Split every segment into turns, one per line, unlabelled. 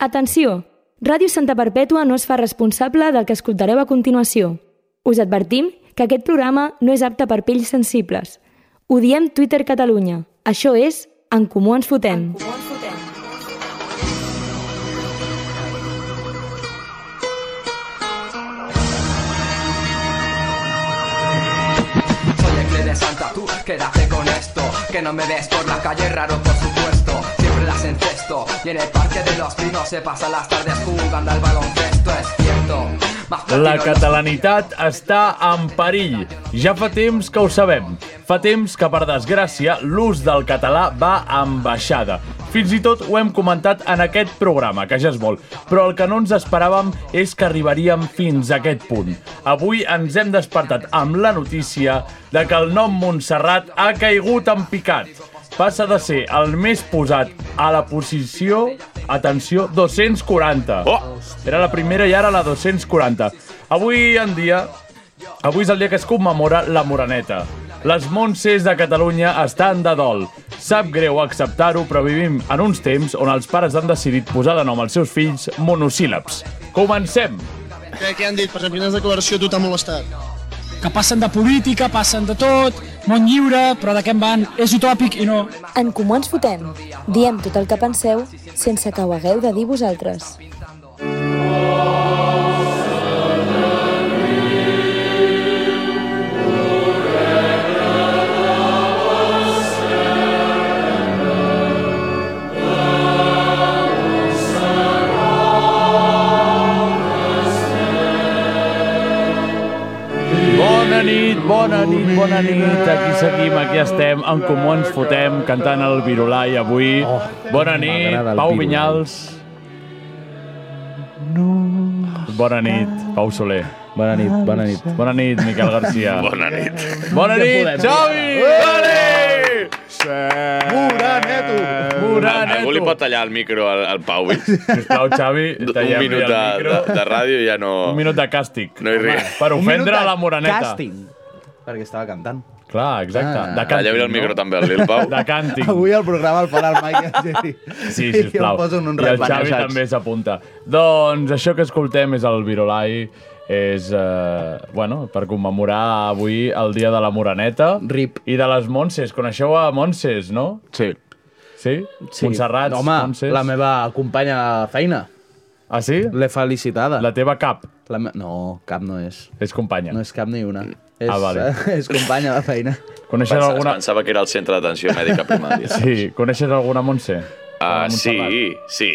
Atenció! Ràdio Santa Perpètua no es fa responsable del que escoltareu a continuació. Us advertim que aquest programa no és apte per pells sensibles. Ho diem Twitter Catalunya. Això és En Comú Ens Fotem.
Soy el clé de Santa, tú quédate con esto. Que no me ves por la calle, raro por supuesto. Siempre las encesto. Y en el parque de los pinos se pasan las tardes jugando al baloncesto, es cierto. Más
La
platino-
catalanitat està en perill. Ja fa temps que ho sabem. Fa temps que, per desgràcia, l'ús del català va en baixada. Fins i tot ho hem comentat en aquest programa, que ja és molt. Però el que no ens esperàvem és que arribaríem fins a aquest punt. Avui ens hem despertat amb la notícia de que el nom Montserrat ha caigut en picat passa de ser el més posat a la posició, atenció, 240. Oh! Era la primera i ara la 240. Avui en dia, avui és el dia que es commemora la Moraneta. Les Montses de Catalunya estan de dol. Sap greu acceptar-ho, però vivim en uns temps on els pares han decidit posar de nom als seus fills monosíl·labs. Comencem!
Què, què han dit? Per exemple, quina declaració a tu t'ha molestat?
que passen de política, passen de tot, món lliure, però de què en van? És utòpic i no.
En Comú Ens Fotem. Diem tot el que penseu sense que ho hagueu de dir vosaltres.
Bona nit, bona nit, bona nit. Aquí seguim, aquí estem, en Comú ens fotem, cantant el Virolai avui. Oh, bona nit,
m'agrada el
Pau
Virolai.
Vinyals. No. Bona nit, Pau Soler.
Bona nit, bona nit.
Bona nit, Miquel Garcia. Bona nit. Bona
podem. Eh!
nit, Xavi! Bona nit!
Moraneto!
Algú li pot
Moraneto!
tallar el micro al, al Pau, Vic?
Sisplau, Xavi,
un
tallem-li
minut
el
de,
micro.
de, de ràdio ja no...
Un minut de càstig.
No hi res.
Per ofendre la Moraneta.
Càsting. Perquè estava cantant.
Clar, exacte.
Ah.
De càntic,
Talla-li el micro també al Lil Pau.
De càntic.
Avui el programa el farà el Mike Angeli.
Sí, sisplau.
I em posen un
I el
ratpenat.
Xavi també s'apunta. Doncs això que escoltem és el Virolai, és, eh, bueno, per commemorar avui el dia de la Moraneta.
Rip.
I de les Montses. Coneixeu a Montses, no?
Sí.
Sí?
sí.
Montserrat,
Home,
Montses.
la meva companya de feina.
Ah, sí?
L'he felicitada.
La teva cap
La me... No, cap no és.
és companya.
No és cap ni una. És,
Ah,
eh,
vale.
és companya de feina.
Coneixes
Pensa,
alguna...
Pensava que era el centre d'atenció mèdica primària.
Sí, coneixes alguna Montse?
Ah,
Alguna
sí,
Montserrat?
sí,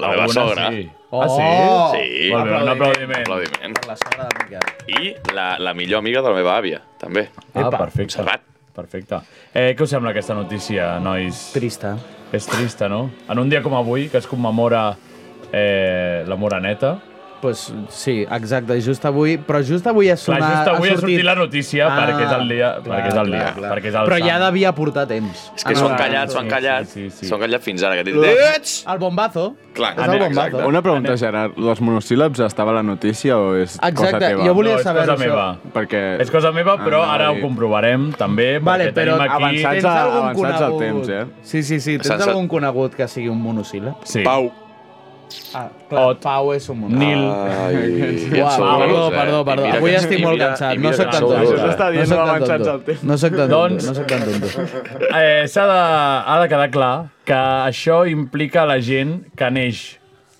la meva
Alguna,
sogra.
sí. Ah, sí?
Oh!
Sí.
Molt bé, un aplaudiment.
Aplaudiment.
La sogra de Miquel.
I la, la millor amiga de la meva àvia, també.
Ah,
Epa.
perfecte.
Montserrat.
Perfecte. Eh, què us sembla aquesta notícia, nois?
Trista.
És trista, no? En un dia com avui, que es commemora eh, la Moraneta,
Pues, sí, exacte, just avui, però just avui ha
clar,
sonat...
just avui ha
sortit-
sortit la notícia ah, perquè és el dia, clar, perquè és el dia, clar, clar. perquè és el
Però ja
sant.
devia portar temps.
És que
Ah,
s'ho han
no,
callat,
sí,
s'ho han callat.
sí, sí, sí.
S'ho han callat fins ara, que t'he dit... Ets!
El bombazo.
Clar,
És el bombazo.
Una pregunta, Gerard. Els monosíl·labs estava a la notícia o és cosa
Exacte,
teva?
jo volia
No, és
saber
cosa
això.
meva.
Perquè...
És cosa meva, però
Ah,
ara ho
vale.
comprovarem, també,
Vale,
perquè
però
tenim aquí...
avançats
tens
a-
algun
avançats al
conegut?
temps, eh?
Sí, sí, sí. Tens
Sense-
algun conegut que sigui un monosíl·lab?
Sí.
Pau.
Ah, clar,
Ot.
Pau és un monosíl·lab.
Nil.
ah.
Ai,
Uau, perdó, perdó, perdó. Avui estic molt cansat, no sóc tan tonto.
Això s'està dient
no soc tan
avançats
tonto.
al temps.
No soc tan tonto,
Doncs-
no soc tan tonto.
Eh, S'ha de, ha de quedar clar que això implica la gent que neix.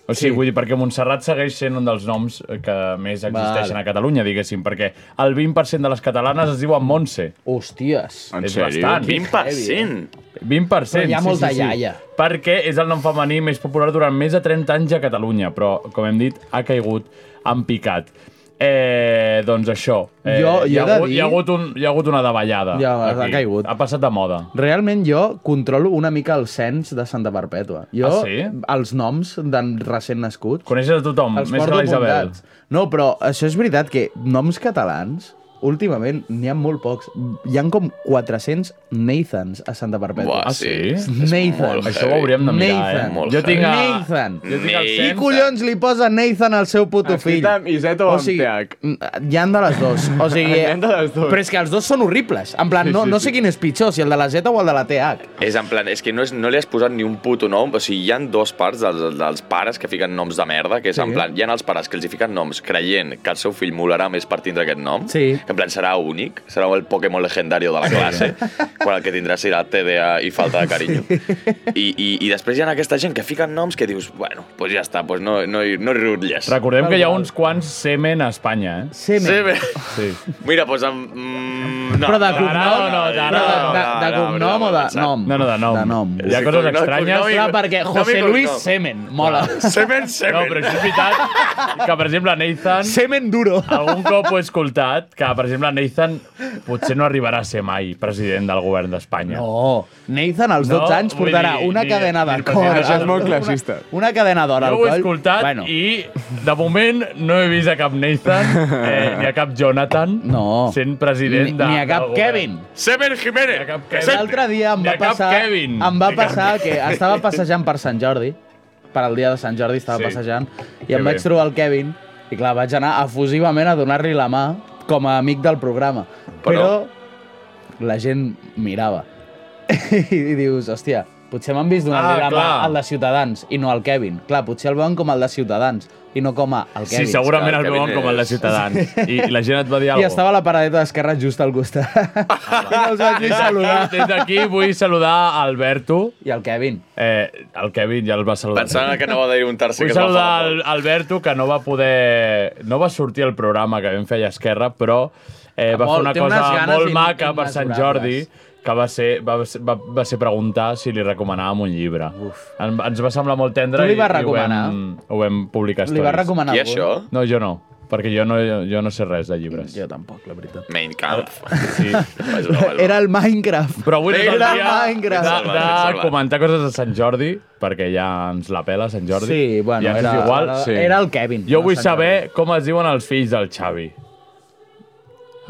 O sigui, sí.
Sí.
vull dir, perquè Montserrat segueix sent un dels noms que més existeixen
Val.
a Catalunya, diguéssim, perquè el 20% de les catalanes es diuen Montse.
Hòsties.
En
És
sèrio?
bastant.
20%!
20%.
Però hi ha
sí,
molta
sí, sí,
iaia.
Perquè és el nom femení més popular durant més de 30 anys a Catalunya, però, com hem dit, ha caigut en picat. Eh, doncs això. Eh,
Jo- jo
hi, ha
he de
hagut,
dir-
hi, ha hagut un, hi ha hagut una davallada.
Ja, ha
aquí.
caigut.
Ha passat de moda.
Realment jo controlo una mica el cens de Santa Perpètua. Jo,
Ah, sí?
els noms de recent nascuts,
Coneixes a tothom,
els
Mm, més que
porto
la Isabel.
apuntats. No, però això és veritat que noms catalans últimament n'hi ha molt pocs. Hi han com 400 Nathans a Santa Perpètua.
Ah,
Buah, sí?
Nathan.
molt
Això ho hauríem de mirar,
Nathan.
eh?
Molt
jo tinc a...
Nathan.
Jo tinc el
Qui
cens.
collons li posa Nathan al seu puto fill?
Escrita amb Iseta o amb TH?
n- hi han de les dues. O sigui,
Hi han de les dues.
Però és que els dos són horribles. En plan,
Sí,
no,
sí,
no
sí.
sé quin és pitjor, si el de la Z o el de la TH.
És en plan, és que no, és, no li has posat ni un puto nom, o sigui, hi han dos parts dels, dels pares que fiquen noms de merda, que és sí. en plan, hi ha els pares que els hi fiquen noms creient que el seu fill molarà més per tindre aquest nom,
Sí.
que en plan serà únic, serà el Pokémon legendari de la classe, quan el que tindrà serà TDA i falta de carinyo. I, i, I després hi ha aquesta gent que fiquen noms que dius, bueno, doncs pues ja està, pues no, no, hi- no hi rutlles.
Recordem que hi ha uns quants semen a Espanya, eh?
Semen.
Sí, bé.
Sí.
Mira, doncs... Amb, mm, no,
Però de
no,
cognom?
no, no,
Però
de,
de, de, de
no, no,
cognom o de
pensat.
nom?
No, no, de nom.
De nom.
Hi ha coses
Sí, cognom,
estranyes.
cognom i-
Clar, perquè
Nom i
José
cognom.
Luis Semen, mola.
Semen,
No,
semen.
però això és veritat que, per exemple, Nathan...
Semen duro.
Algun cop ho he escoltat, que, per exemple, Nathan potser no arribarà a ser mai president del govern d'Espanya.
No, Nathan als
No,
12 anys
vull
portarà
dir,
una
ni-
cadena de
ni
cor.
president.
Això
al-
és molt classista.
Una cadena d'or al
Jo
coll.
ho he escoltat
Bueno,
i, de moment, no he vist a cap Nathan eh, ni a cap Jonathan
No.
sent president
ni,
de,
ni a cap
del govern.
Kevin.
Semen Jiménez.
Ni a cap
Que
Kevin.
sent-
L'altre dia em
Ni
va
a cap
passar...
Kevin.
Em va
Ni a cap
passar que estava passejant per Sant Jordi, per al dia de Sant Jordi estava
Sí.
passejant, i
Que
em vaig
bé.
trobar el Kevin, i clar, vaig anar efusivament a donar-li la mà com a amic del programa. Però, la gent mirava. I dius, hòstia, potser m'han vist donar-li
Ah,
la mà
clar.
al de Ciutadans i no al Kevin. Clar, potser el veuen com el de Ciutadans i no com a el
Sí,
Kevin.
segurament
clar,
el veuen
Kevin
com el de
és-
Ciutadans. I, i la gent et va dir
I
alguna
estava la paradeta d'esquerra just al costat. I no els vaig ni saludar.
Des d'aquí vull saludar Alberto.
I el Kevin.
Eh, el Kevin ja el va saludar.
Pensant que no va haver un tercer
Vull
que es va
saludar
fer
al Alberto, que no va poder... No va sortir el programa que vam fer a Esquerra, però eh, va
Molt-
fer una
té unes
cosa
ganes
molt
in-
maca per Sant Jordi,
immesurables.
que va ser, va, ser- va, va ser preguntar si li recomanàvem un llibre. En, ens va semblar molt tendre
Tu li
i,
vas
i ho,
recomanar?
vam, ho vam publicar a
Li va
Stories.
recomanar
Qui
algú?
això?
No, jo no, perquè jo no, jo no sé res de llibres.
Jo tampoc, la veritat.
Mein Kampf.
Sí.
Vaig veure, vaig veure.
Era el Minecraft.
Però avui és el
Era
dia
Minecraft.
de, de comentar coses de Sant Jordi, perquè ja ens la pela Sant Jordi.
Sí, bueno,
ja ens
era,
és igual.
era, era el Kevin.
Jo
no
vull
Sant
saber com es diuen els fills del Xavi.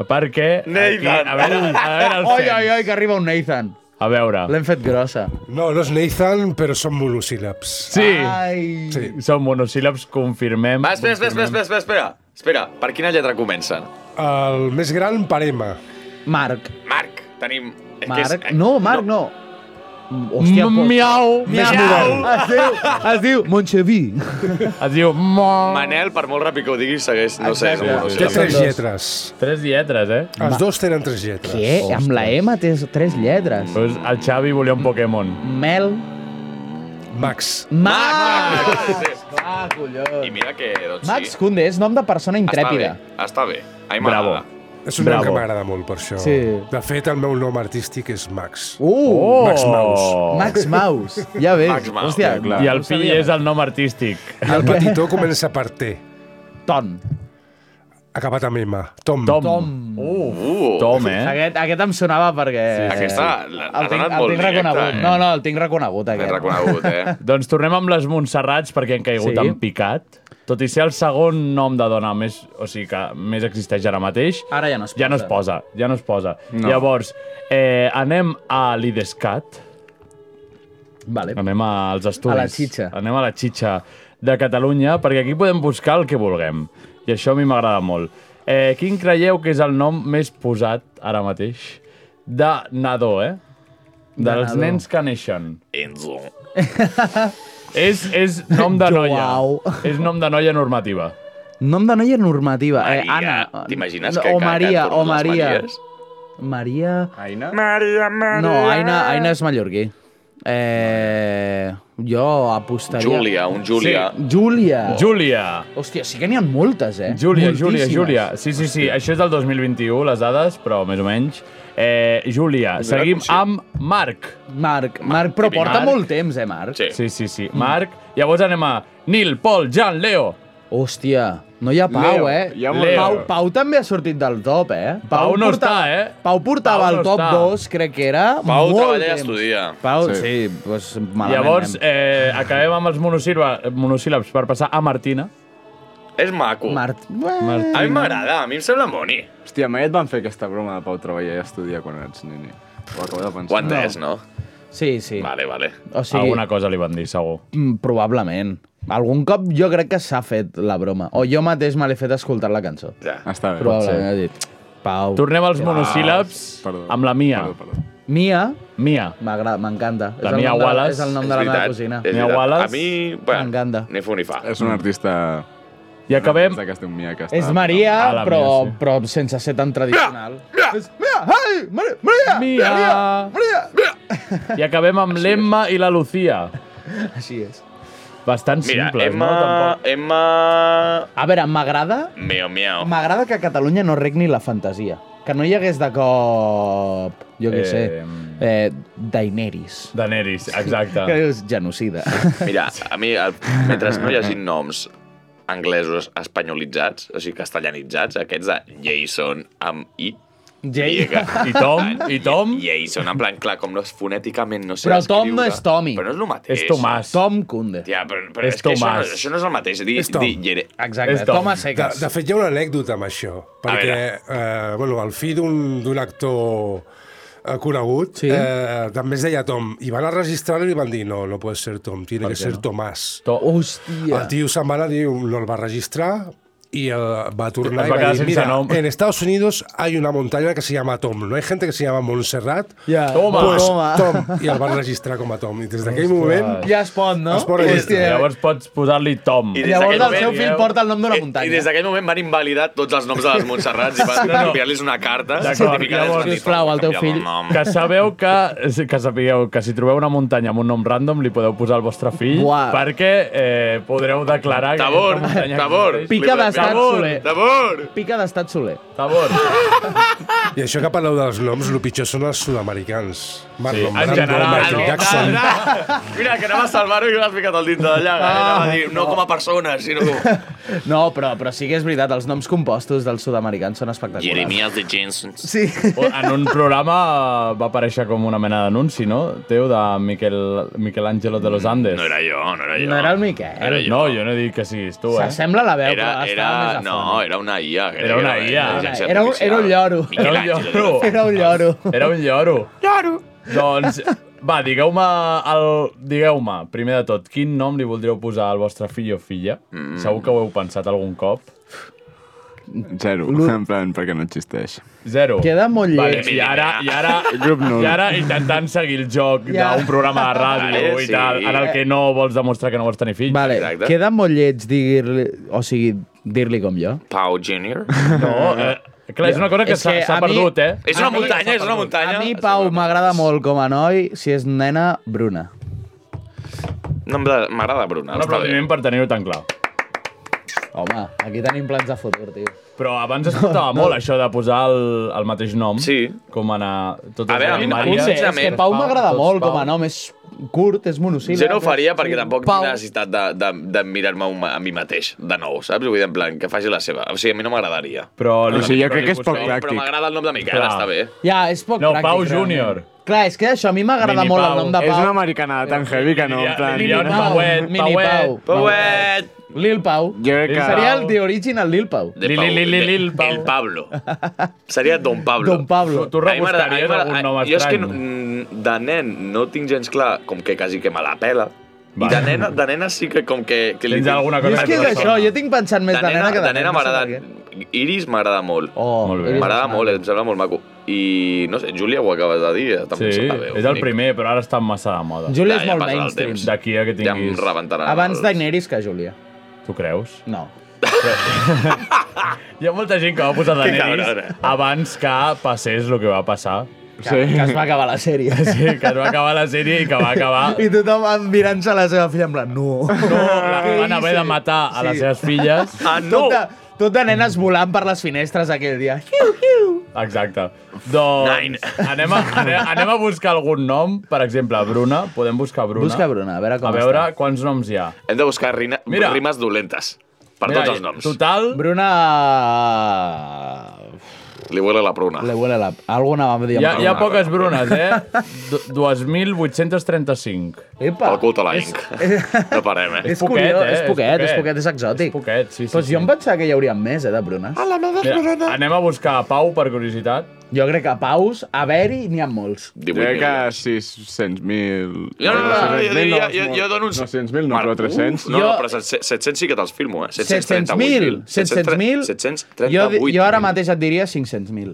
Perquè... Aquí,
Nathan.
a veure, a veure el
Jordi. Oi, oi,
cens.
oi, que arriba un Nathan.
A veure.
L'hem fet grossa.
No, no és Nathan, però són monosíl·labs.
Sí,
Ai.
Sí.
són monosíl·labs, confirmem.
Va, espera, espera, espera, espera, espera, espera. Espera, per quina lletra comencen?
El més gran, Parema.
Marc.
Marc, tenim... És que
Marc.
És...
No, Marc no. Hòstia,
Miau.
pot-
Miau.
Miau. Es diu, es diu Montxeví.
Es diu... Mo...
Manel, per molt ràpid que ho diguis, segueix... No sé, és
Exacte.
un
Té
monosíl·lab.
són
tres
dos.
lletres.
Tres lletres, eh?
Els dos tenen tres lletres.
Què? Amb la M té tres lletres.
Doncs el Xavi volia un Pokémon.
Mel.
Max.
Max!
Sí.
Ah, collons.
I mira que, doncs
Max
sí.
Kunde és nom de persona
Està bé,
intrèpida.
està bé. Ai,
Bravo.
m'agrada.
És un nom
Bravo.
que m'agrada molt, per això.
Sí.
De fet, el meu nom artístic és Max.
Oh!
Uh!
Max Maus.
Max Maus. Ja ves.
Max Maus,
Hòstia,
ja,
I el fill és el nom artístic.
I el petitó comença per T.
Ton.
Acabat amb M. Tom.
Tom.
Tom.
Uf,
Uh,
Tom, eh?
Aquest, aquest em sonava perquè...
Sí, aquesta l'ha- l'ha
el tinc,
donat
el
molt
tinc
directe,
reconegut.
eh?
No, no, el tinc reconegut,
Ben
aquest.
reconegut, eh?
Doncs tornem amb les Montserrats perquè han caigut
Sí.
sí. en picat. Tot i ser el segon nom de dona més, o sigui que més existeix ara mateix,
Ara ja Ah, no es
ja no es
posa.
posa, ja no es posa.
No.
Llavors, eh, anem a l'IDESCAT,
Vale.
anem als estudis.
A la xitxa.
Anem a la xitxa de Catalunya, perquè aquí podem buscar el que vulguem. I això a mi m'agrada molt. Eh, quin creieu que és el nom més posat ara mateix de nadó, eh? Dels
nadó.
nens que neixen.
Enzo.
Eh,
És, és nom de noia.
Joao.
És nom de noia normativa.
Nom de noia normativa. eh,
Maria.
Anna.
T'imagines
No,
que
O
que
Maria,
canten
o
les
Maria.
Maries?
Maria...
Aina?
No, Aina, Aina és mallorquí. Eh, jo apostaria...
Júlia, un Júlia.
Júlia.
Júlia.
Hòstia, sí que n'hi ha moltes, eh?
Júlia, Júlia,
Moltíssimes.
Júlia. Sí, sí, sí. Això és del 2021, les dades, però més o menys. Eh, Júlia, seguim amb Marc.
Marc, Marc, però porta
Marc.
molt temps, eh, Marc?
Sí.
Sí, sí, sí. Marc. Llavors anem a Nil, Pol, Jan, Leo.
Hòstia, no hi ha Pau,
Leo,
eh?
hi ha
molt Leo.
Pau, Pau també ha sortit del top, eh?
Pau no està, eh?
Pau portava
Pau
el
no
top
està.
2, crec que era.
Pau
molt
treballa i
temps.
estudia.
Pau, sí,
Sí.
sí doncs malament.
Llavors,
anem.
eh, acabem amb els monosíl·la- monosíl·labs per passar a Martina.
És maco.
Mart...
Martina.
A mi m'agrada, a mi em sembla moni.
Hòstia, mai et van fer aquesta broma de Pau Treballar i estudiar quan eres nini. Ho acabo de pensar.
Ho ha entès, no?
Sí, sí.
Vale, vale.
O sigui- Alguna
cosa li van dir, segur.
Mm, Probablement. Algun cop jo crec que s'ha fet la broma. O jo mateix me l'he fet escoltar la cançó.
Ja.
Està bé.
Probablement.
pot
he dit, Pau.
Tornem als
ja.
monosíl·labs amb la Mia.
Mia.
Mia.
M'agrada, m'encanta.
La
És el
Mia
nom de-
Wallace.
És el nom
És
de la meva
veritat,
cosina.
és Mia veritat. Wallace.
A mi, bueno, M'encanta. ni fu ni fa.
És un artista...
I acabem...
Que es diu Mia, que està...
És Maria,
A la
però,
Mia, sí.
però sense ser tan tradicional.
Mira, ai, Maria, Maria,
Mia. I acabem amb l'Emma i la Lucía.
Així és.
Bastant
Mira,
simples,
Emma...
no? Tampoc.
Emma...
A veure, m'agrada
Miau, miau.
m'agrada que a Catalunya no regni la fantasia. Que no hi hagués de cop... Jo què
Eh,
sé. Eh, Daenerys.
Daenerys, exacte.
Que dius, genocida.
Mira, a mi, el- mentre no hi hagi noms anglesos espanyolitzats, o sigui, castellanitzats, aquests de Jason amb I,
Jay.
I Tom, i Tom.
Jason, en plan, clar, com no és fonèticament, no sé
Però Tom no
escriure.
és Tommy.
Però no és el mateix.
Tom Kunde.
Ja, però, però
És
és, que això, no-
Tomàs.
això no és el mateix. Di,
És Tom.
di, Jere.
Exacte, És Tom. Tom a seques.
De, de fet, hi ha una anècdota amb això, perquè eh, bueno, el fill d'un d'un actor eh, conegut
Sí.
eh, també es deia Tom, i van a registrar-lo i li van dir no, no pot ser Tom, tiene
Per
que
què
ser
no?
Tomàs.
To Hòstia.
El tio se'n va anar, diu, no el va registrar, i eh, va tornar
Es va
i va
quedar
dir,
sense
mira,
nom."
en Estados Unidos hay una montaña que se llama Tom, no hay gente que se llama Montserrat,
Ja.
Toma.
pues
Toma.
Tom, i el van registrar com a Tom, i des d'aquell
Ostres.
moment...
Ja es pot, no?
Es pot registrar.
Llavors pots posar-li Tom.
I des
Llavors el
d'aquell
seu
moment,
fill
dieu-
porta el nom d'una
I, Eh, I
muntanya.
des d'aquell moment van invalidar tots els noms de les Montserrats i van
No, no.
enviar-los una carta
D'acord,
certificada.
llavors,
i van dir,
sisplau,
"Tom,
el teu
canvia el
fill-
nom."
Que sabeu que, que sapigueu que si trobeu una muntanya amb un nom random li podeu posar al vostre fill
Buah.
perquè eh, podreu declarar
Tabor,
que aquesta muntanya
Tabor.
existeix.
Pica d'estat
Tabor,
Soler.
Tabor!
Pica d'estat Soler.
Tabor.
I això que parleu dels noms, el pitjor són els sud-americans. Marlon
en
Brando,
general,
Michael
no?
Jackson...
Mira, que anava a salvar-ho i l'has ficat al dintre de llaga. Ah, anava a dir, no com a persona, sinó com...
No, però, però sí que és veritat, els noms compostos dels sud-americans són espectaculars.
de Jensen.
Sí.
O- En un programa va aparèixer com una mena d'anunci, no? Teu, de Miquel, Miquel Ángelo de los Andes. Eh,
No era jo, no era jo.
No era el Miquel.
Era jo.
No, jo no he dit que siguis tu, eh?
S'assembla a la veu,
Era,
però estava
era,
més a
no, era una IA.
Era una IA.
Era un- era un lloro.
Miquel
Era un
Àngel.
lloro.
Era un lloro.
Era un lloro.
Lloro.
Doncs, va, digueu-me, el... digueu-me, primer de tot, quin nom li voldríeu posar al vostre fill o filla? Mm. Segur que ho heu pensat algun cop.
Zero, en plan, perquè no existeix.
Zero.
Queda molt
Vale,
lleig.
I ara, i ara,
Grup nul.
i ara intentant seguir el joc
Ja.
d'un programa de ràdio
Vale,
i
sí.
tal, en el que no vols demostrar que no vols tenir fills.
Vale,
Exacte.
queda molt lleig dir-li... O sigui, dir-li com jo.
Pau Junior.
No, eh, clar, és una cosa que
És que
s'ha s'ha
a mi-
perdut, eh?
És una
A mi-
muntanya, és una muntanya.
A mi, Pau, m'agrada molt com a noi, si és nena, Bruna.
No, m'agrada Bruna.
Un
Està bé.
aplaudiment per tenir-ho tan clar.
Home, aquí tenim plans de futur, tio.
Però abans es portava molt això de posar el, el mateix nom.
Sí.
Com anar... Totes
A veure, a mi
les
no-
Maries.
Potser, és que
sincerament,
Pau m'agrada
tots
molt com a
Pau.
nom, és curt, és monosíl·lab.
Jo no ho faria perquè tampoc
Pau.
tinc la necessitat de, de, de mirar-me un- a mi mateix, de nou, saps? Vull dir, en plan, que faci la seva. O sigui, a mi no m'agradaria.
Però li,
O sigui, jo
però
crec
li
que és poc
poseu-
pràctic.
Però m'agrada el nom de Miquel,
Clar.
està bé.
Ja, és poc
No,
pràctic.
Pau
realment.
Júnior.
Clar, és que això a mi m'agrada
Mini
molt
Pau.
el nom de
És
Pau.
una americanada tan heavy que no, en plan...
Mini Pau. eh,
Jo
Pauet,
Mini
Pauet.
Pau.
eh. Pauet!
Lil Pau.
crec que...
Seria el The Original Lil Pau.
De
Li-
Pau-
li- li- li-
de-
li- Pau.
El Pablo. Seria Don Pablo.
Don Pablo.
Tu
A mi m'agrada- a mi
rebuscaries
m'agrada-
algun nom
Jo és que
estrany.
no- mm, de nen no tinc gens clar, com que quasi que me la pela. I de nena, de nena sí que com que... que li
Tens
tinc-
alguna
Jo
cosa
és que és
et
això, jo tinc pensat més
de nena,
que
de nena
no sé
m'agrada...
per què.
Iris m'agrada molt.
Oh,
Molt bé.
eres
M'agrada
maco.
molt, eh, em sembla molt maco. I, no sé, Júlia ho acabes de dir, eh? també
Sí,
se la veu.
és el
bonic.
primer, però ara està massa de moda.
Júlia
Ja,
és
ja
molt
passa el
mainstream.
temps.
D'aquí a que
Ja em
tinguis...
rebentaran.
Abans
els-
Daenerys que Júlia.
Tu creus?
No.
Hi ha molta gent que va posar
Que
Daenerys
cabrona.
abans que passés el que va passar.
Que, que es va acabar la sèrie.
Sí, que es va acabar la sèrie i que va acabar...
I tothom mirant-se la seva filla en plan, no.
No, la que van haver de matar a les
Sí.
seves filles.
Ah, no!
Tot de, tot de nenes volant per les finestres aquell dia. Hiu, hiu.
Exacte. Doncs
Nine.
anem a, anem, anem a buscar algun nom. Per exemple, Bruna. Podem buscar Bruna.
Busca Bruna, a veure com
A veure
està.
quants noms hi ha.
Hem de buscar rina,
Mira. eh,
rimes dolentes. Per tots els noms.
Total,
Bruna...
Li huele la pruna.
Le huele Ah. la... Alguna vam dir...
Hi ha, hi ha poques brunes, eh? Du- 2.835.
Epa!
El culte a la Inc. No parem, eh?
És, poquet, curiós, eh? és, poquet, és poquet, és exòtic. És
poquet, sí, sí.
Pues jo em pensava que Doncs hi haurien més, eh, de brunes.
A la meva
Mira, anem a buscar a Pau, per curiositat.
Jo crec que paus, a haver-hi, n'hi ha molts.
Jo crec que 600.000...
Jo, no, no, no, jo, jo, jo, jo, jo dono un...
900.000, no, però 300.
No, no, però 700 sí que te'ls filmo, eh?
700.000. 700.000.
738.
Jo, di- jo ara mateix et diria 500.000.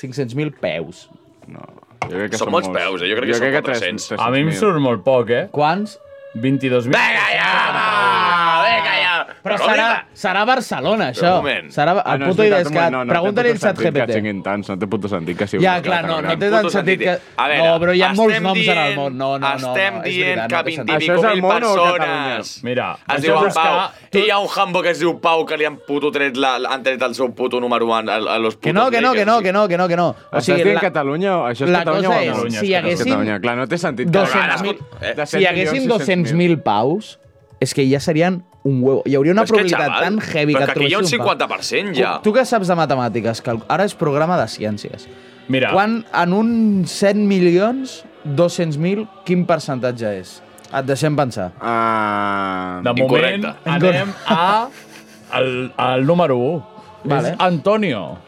500.000 peus.
Jo crec
Són molts peus, eh? Jo crec que són 400.
A mi em surt molt poc, eh?
Quants?
22.000. Vinga,
ja! Vinga, ja!
Però serà, serà Barcelona, això. Serà el puto
és veritat, un
IDESCAT.
moment,
Pregunta-li al
té tot
xat
sentit que
GPT.
siguin tants, no té puto sentit que sigui
Ja,
un
clar,
esclat
no,
tan
no
gran.
té tant sentit que... no, però hi ha
estem
molts noms en el
dient-
món. No, no, no.
estem
no, és
dient
veritat,
que
no té
20
sentit.
i pico mil persones
Mira,
es
això
diu en
és
Pau.
buscar-
I hi ha un jambo que es diu Pau que li han puto tret, la, han tret el seu puto número 1 a, a los
Que
putos
no, que no, que no, que no, que no, que no.
O sigui, Estàs dient Catalunya o això és
la
Catalunya
cosa
o
és,
no?
si hi haguessin
Catalunya. Clar, no té sentit. que-
200.000.
Eh? De
Si hi haguessin
7.600.000.
200.000 paus, és que ja serien un huevo. Hi hauria una
Però és que,
probabilitat
xaval,
tan heavy
però
que
que
et
aquí hi ha un
trobessin un pa-
50% ja.
Tu que saps de matemàtiques, que el- ara és programa de ciències.
Mira.
Quan en un 100 milions, 200.000, quin percentatge és? Et deixem pensar.
Ah,
Uh,
De moment, anem a el, el número 1.
Vale.
És Antonio.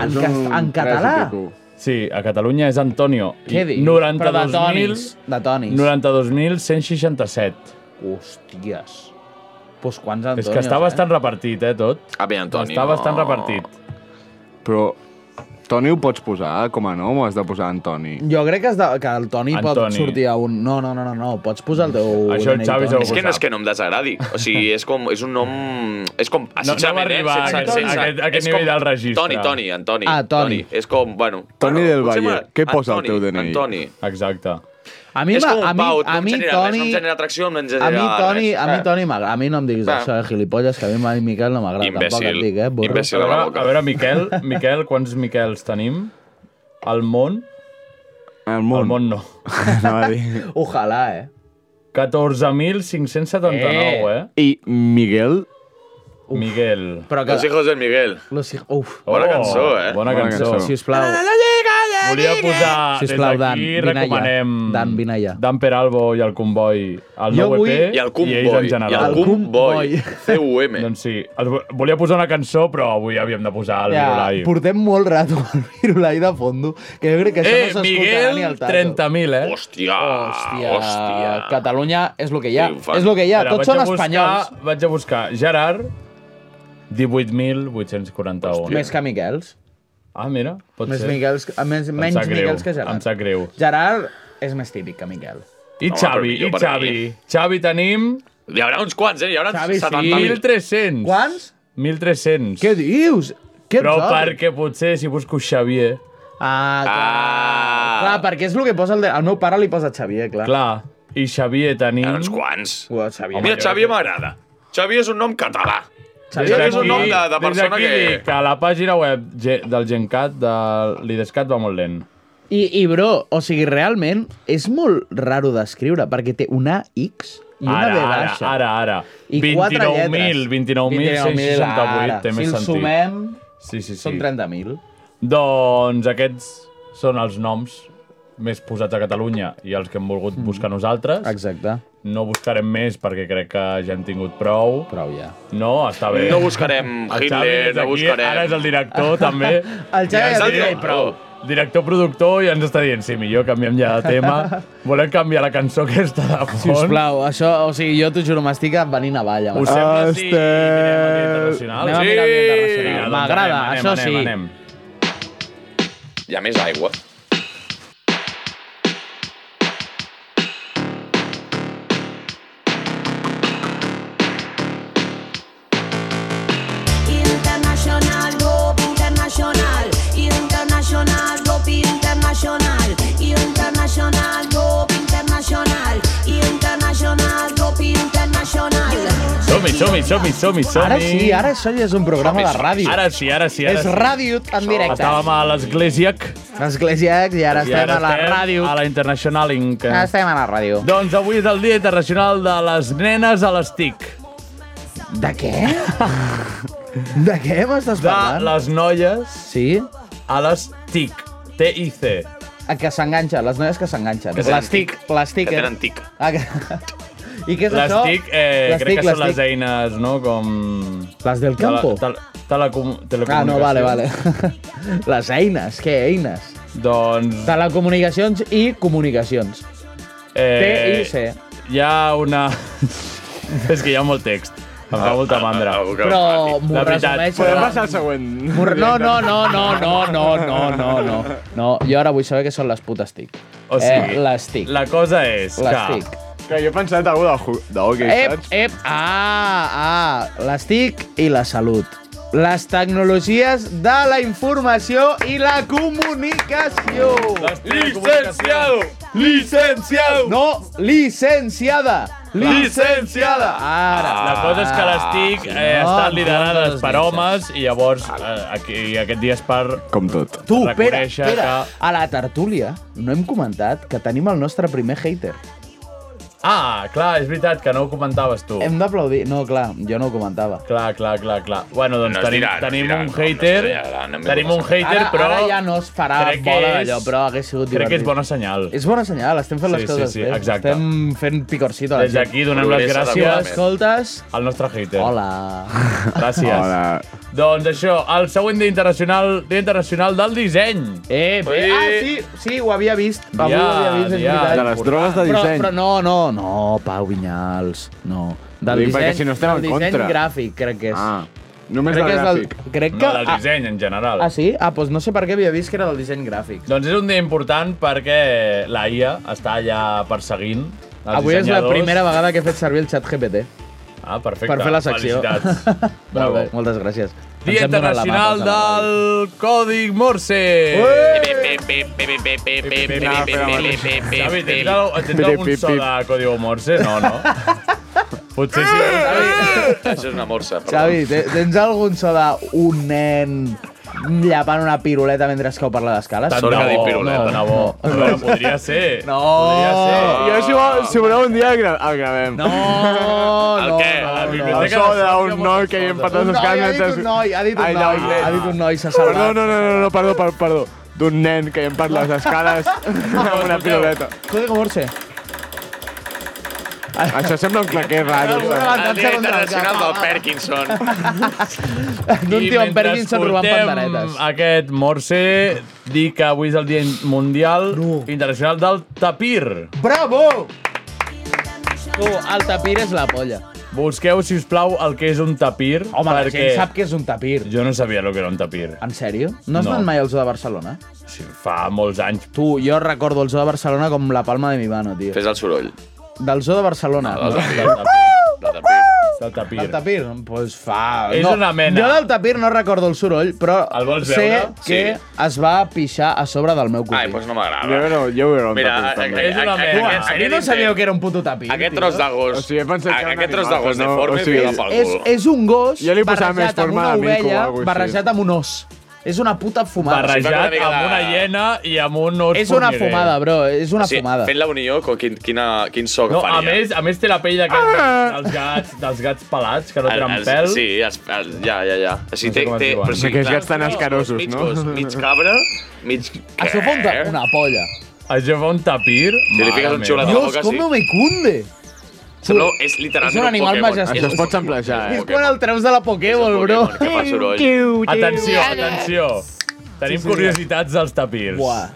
En, cas, en català?
Sí, a Catalunya és Antonio.
Què dius? Però de tònics. De tònics.
92.167.
Hòsties. Pues quants
És que està
Antonios, eh?
bastant repartit, eh, tot.
A Ah, bé,
Està bastant repartit.
Però Toni ho pots posar com a nom o has de posar Antoni?
Jo crec que, has de, que el Toni pot
Antoni.
sortir a un... No, no, no, no, no. pots posar el teu... DNI, Toni.
És que no és que no em desagradi. O sigui, és com... És un nom... És com...
No- no va arribar a aquest- a aquest- a aquest nivell del registre.
Toni, Toni, Antoni.
Ah, Toni.
És com, bueno...
Toni del
potser
Valle,
m'agrada-
què posa al
Antoni,
teu DNI?
Antoni.
Exacte.
A mi,
és
m'ha-
com
a
un
mi,
pau,
a mi,
no em genera res, no em
Toni...
genera atracció, no em genera
A mi, Toni,
res.
a mi, Toni, m'agrada. A mi no em diguis això de gilipolles, que a mi mai Miquel no m'agrada. Tampoc et dic, eh, burro.
a veure, a veure, Miquel, Miquel, quants Miquels tenim? Al món?
Al món.
Al món no.
Ojalà, eh?
14.579, eh?
I Miguel?
Miguel.
Però
Los hijos del Miguel.
Los hijos... Uf.
Bona cançó, eh?
Oh, Bona cançó.
Sisplau.
Volia posar,
Sisplau,
des
Dan,
d'aquí
vine allà.
recomanem...
Dan, vine allà.
Dan Peralbo i el Comboi, el
Jo
nou
vull-
EP,
I el Comboi,
ells en
i el
general.
El Comboi.
C-U-M.
Doncs sí, els vo- volia posar una cançó, però avui havíem de posar el
Ja,
Virulai.
portem molt rato al Virulai de fondo, que jo crec que això
Eh,
no s'escoltarà
Miguel,
ni al tato.
30.000, eh?
Hòstia,
hòstia. Catalunya és el que hi ha.
Triomfant.
és el que hi ha.
Espera,
Tots
vaig
són
a buscar-
espanyols.
Vaig a buscar Gerard, 18.841.
Més que Miquels.
Ah, mira, pot
Més
ser.
Miquels, que- més,
Em
menys
sap greu,
Miquels que
Em
Gerard.
sap greu.
Gerard és més típic que Miquel.
I Xavi, i Xavi. Xavi tenim...
Hi haurà uns quants, eh? Hi haurà uns
Xavi,
70.000.
1.300.
Quants?
1.300.
Què dius? Que
Però
ets eh? hort.
perquè potser si busco Xavier...
Ah, clar. Ah. Clar, perquè és el que posa el... De... El meu pare li posa Xavier, clar.
Clar. I Xavier tenim...
Hi ha uns quants.
Ua, Xavier.
Mira, Xavi m'agrada. Xavi és un nom català.
Des
Xavi és un
d'aquí-
nom de, de
des
persona
d'aquí
que...
dic que la pàgina web ge- del Gencat, de l'Idescat, va molt lent.
I, I, bro, o sigui, realment és molt raro d'escriure, perquè té una X i una
Ara,
B
ara,
baixa.
ara, ara.
I quatre
29.000,
lletres.
29.668,
ara.
té més
si
sentit.
Si sumem,
Sí, sí, sí.
són 30.000.
Doncs aquests són els noms més posats a Catalunya i els que hem volgut
Mhm.
buscar nosaltres.
Exacte.
No buscarem més perquè crec que ja hem tingut prou.
Prou ja.
No, està bé.
No buscarem
El Xavi
Hitler,
és
no
aquí,
buscarem-
Ara és el director, també.
El Xavi
ens
ja
ha
diu,
dit,
Eh, "Prou".
Oh,
Director, productor, i ens està dient, sí, millor canviem ja de tema. Volem canviar la cançó aquesta de fons.
Si us plau, això, o sigui, jo t'ho juro, m'estic venint avall. amb
Us
això.
sembla si
Anem a mirar l'ambient internacional. M'agrada, això sí.
Hi ha més aigua.
Internacional, Bob Internacional, Internacional, Bob Internacional, Internacional, Bob Internacional, Internacional, Bob Internacional.
Som-hi, som-hi, som-hi, som-hi, som-hi.
Ara sí, ara això ja és un programa de ràdio.
Ara sí, ara sí. Ara
És
sí.
ràdio en directe.
Estàvem a l'Església.
L'Església i ara estem a la ràdio.
A la Internacional Inc.
Ara estem a la ràdio.
Doncs avui és el Dia Internacional de les Nenes a les TIC.
De què? De què m'estàs
De les noies
Sí?
a les TIC. T-I-C.
A que s'enganxa, les noies que s'enganxen.
Que tenen
Les TIC.
tic.
Les TIC.
Que
eh?
tenen tic.
Ah, que... I què és
les
això?
TIC, eh,
Les
crec
TIC,
que són
les
les eines, no? Com...
Les del
tele-
campo?
tel- telecom
Ah, no,
telecomunicacions.
vale, vale. les eines, què eines?
Doncs...
Telecomunicacions i comunicacions.
Eh,
TIC.
Hi ha una... és que hi ha molt text. Em fa molta
Ah,
mandra.
Però m'ho
La veritat.
resumeixo. Podem passar
al següent.
Mor- No, no, no, no, no, no, no, no, no. No, jo ara vull saber què són les putes TIC.
O sigui,
eh, les TIC.
La cosa és
Les
que...
TIC.
Que jo he pensat algú de, ju- de hockey,
Ep,
saps?
ep, ah, ah, les TIC i la salut. Les tecnologies de la informació i la comunicació.
Licenciado! Licenciado!
No, licenciada!
Licenciada!
Ara.
La cosa és que les TIC eh,
no,
estan liderades
entonces
per
dices.
homes i llavors eh, aquí, aquest dia és per...
Com tot.
Tu, espera,
reconèixer
espera. A la tertúlia no hem comentat que tenim el nostre primer hater.
Oh. Que... Ah, clar, és veritat que no ho comentaves tu.
Hem d'aplaudir. No, clar, jo no ho comentava.
Clar, clar, clar, clar. Bueno, doncs
No es
tenim,
dirà, no es
tenim
dirà,
un
no, no es
hater,
dirà, no em
tenim un
coneixes.
hater,
Ara-
però...
ara ja no es farà
crec que
bola
és-
d'allò, però hagués sigut
Crec que
divertit.
és bona senyal.
És bona senyal, estem fent les
Sí, sí,
coses
sí,
bé.
exacte.
Estem fent picorcito a la
Des
gent.
d'aquí donem les gràcies.
Escoltes...
El nostre hater.
Hola.
Gràcies.
Hola.
Doncs això, el següent Dia Internacional, Dia Internacional del Disseny.
Eh, bé. Ah, sí, sí, ho havia vist. Avui ho havia vist, és veritat. Però, però no, no, no, Pau Vinyals, no. Del
Ho dic perquè
disseny,
si no estem
del
en
disseny
contra.
gràfic, crec que és.
Ah, només
crec
del
que és
gràfic.
No,
crec que...
del disseny, en general.
Ah, ah, sí? Ah, doncs no sé per què havia vist que era del disseny gràfic.
Doncs és un dia important perquè la IA està allà perseguint els
Avui és la
dissenyadors.
primera vegada que he fet servir el xat GPT
Ah, perfecte.
per fer la secció.
Felicitats.
Molt bé, moltes gràcies.
Dia
Ens hem donat la mà
Internacional
tots a la
del Còdic Morse. Xavi, tens, al, tens algun so de Código Morse? No, no. Potser sí.
Això és una morsa, perdó.
Xavi, te- tens algun so d'un nen llapant una piruleta mentre que ho parla d'escales?
Tant de bo, tant de bo. A veure, podria ser.
No.
Podria ser.
Jo, si, vol, si voleu, un dia gra el gravem.
No, no,
el què?
no,
la
no.
biblioteca no, no. d'un noi que hi hem parlat
Un
dels
noi, ha
canals.
dit un noi, ha dit un
Ai,
noi,
no, nen.
ha dit un noi, s'ha salvat.
Perdó, no, no, no, no, perdó, perdó, perdó. D'un nen que hi hem parlat les escales amb una piruleta.
Código Morse.
Això sembla un claquer raro.
El Dia Internacional del Parkinson.
D'un
I
tio amb
mentre
Parkinson robant
escoltem
panderetes.
aquest morse, dir que avui és el Dia Mundial Internacional del Tapir.
Bravo! Tu, el tapir és la polla.
Busqueu, si us plau, el que és un tapir.
Home, la gent sap què és un tapir.
Jo no sabia el que era un tapir.
En sèrio? No has
No.
anat mai al zoo de Barcelona?
Sí, fa molts anys.
Tu, jo recordo el zoo de Barcelona com la palma de mi mano, tio.
Fes el soroll.
Del zoo de Barcelona.
No, del tapir.
Del tapir. Del tapir.
El tapir, doncs pues fa...
És
no,
una mena.
Jo del tapir no recordo el soroll, però
El vols
sé
veure?
que
Sí.
es va pixar a sobre del meu cosí. Ai,
doncs no m'agrada.
Jo, no, jo ho era un eh.
Mira, eh,
tapir, també.
és una mena.
Uah, jo no sabia que era un puto tapir.
Aquest tros de gos.
O sigui, he pensat que era un
Aquest tros de
animal,
gos
però no,
deforme
o sigui,
pega pel
És,
cul.
és un gos
Jo li posava
barrejat
més
amb
forma
una
de mico o
ovella,
alguna cosa així.
barrejat amb un os. És una puta fumada.
Barrejat amb una hiena i amb un os
És una
formiguer.
fumada, bro. És una fumada.
Fent la unió, co- quin, quina, quin so que
No, a
faria.
més, a més té la pell de gat,
Ah!
dels, gats, dels gats pelats, que no
El-
tenen
els-
pèl.
Sí, els, el, ja, ja, ja. Així
No sé
té,
com es
té,
diuen.
Perquè els gats tan
mig
escarosos,
mig
no?
gos, Mig cabra, mig...
Això fa un ta- una polla.
Això fa un tapir.
Si li fiques un xiulet a la
Dios,
boca,
com
sí.
no me cunde.
Sembla, és literalment
És un animal
eh?
Pokémon.
majestuós. Això es pot eh?
samplejar, eh,
És quan el treus de la Pokéball, bro.
que fa soroll.
Atenció, atenció. Tenim
Sí, sí,
curiositats dels tapirs.
Buah.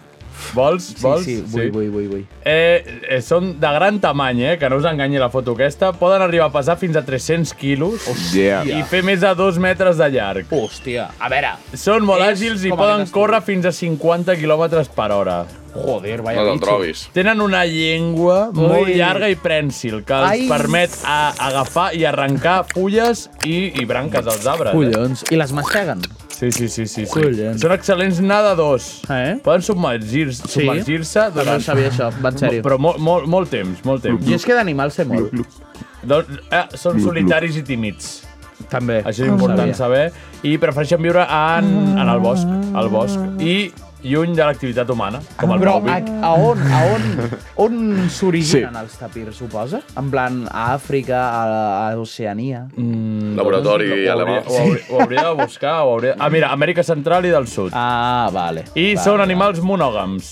Vols? Vols?
sí, vull, vull, vull, vull.
Eh, eh, són de gran tamany, eh? Que no us enganyi la foto aquesta. Poden arribar a pesar fins a 300 quilos
Hòstia.
i fer més de 2 metres de llarg.
Hòstia, a veure...
Són molt
És
àgils i
com
poden
aquest
córrer fins a 50 km per hora.
Joder, vaya
No te'l
bitxo.
trobis.
Tenen una llengua molt llarga i prènsil que els
Ai.
permet a agafar i arrencar fulles i, i branques dels arbres. eh?
Collons. I les masteguen.
Sí, sí, sí, sí. sí.
Collons.
Són excel·lents nadadors. Eh? Poden submergir-se
Sí?
submergir
També ho sabia això, va en sèrio.
Però molt, molt, molt temps, molt temps.
Jo és que d'animals sé molt.
Doncs, eh, són
Gluc,
solitaris i tímids.
També.
Això és
No ho
important
sabia. Ah.
saber. I prefereixen viure en, en el bosc, al bosc. I lluny de l'activitat humana, com
Ah,
el
Però a,
mòbil.
a on, a on, on s'originen sí. els tapirs, suposa? En plan, a Àfrica, a, a Oceania...
Mm,
Laboratori
doncs, ho
alemà.
hauria- Ho, hauria- ho hauria de buscar. Ho hauria... Ah, mira, Amèrica Central i del Sud.
Ah, vale.
I
Vale,
són
vale.
animals monògams.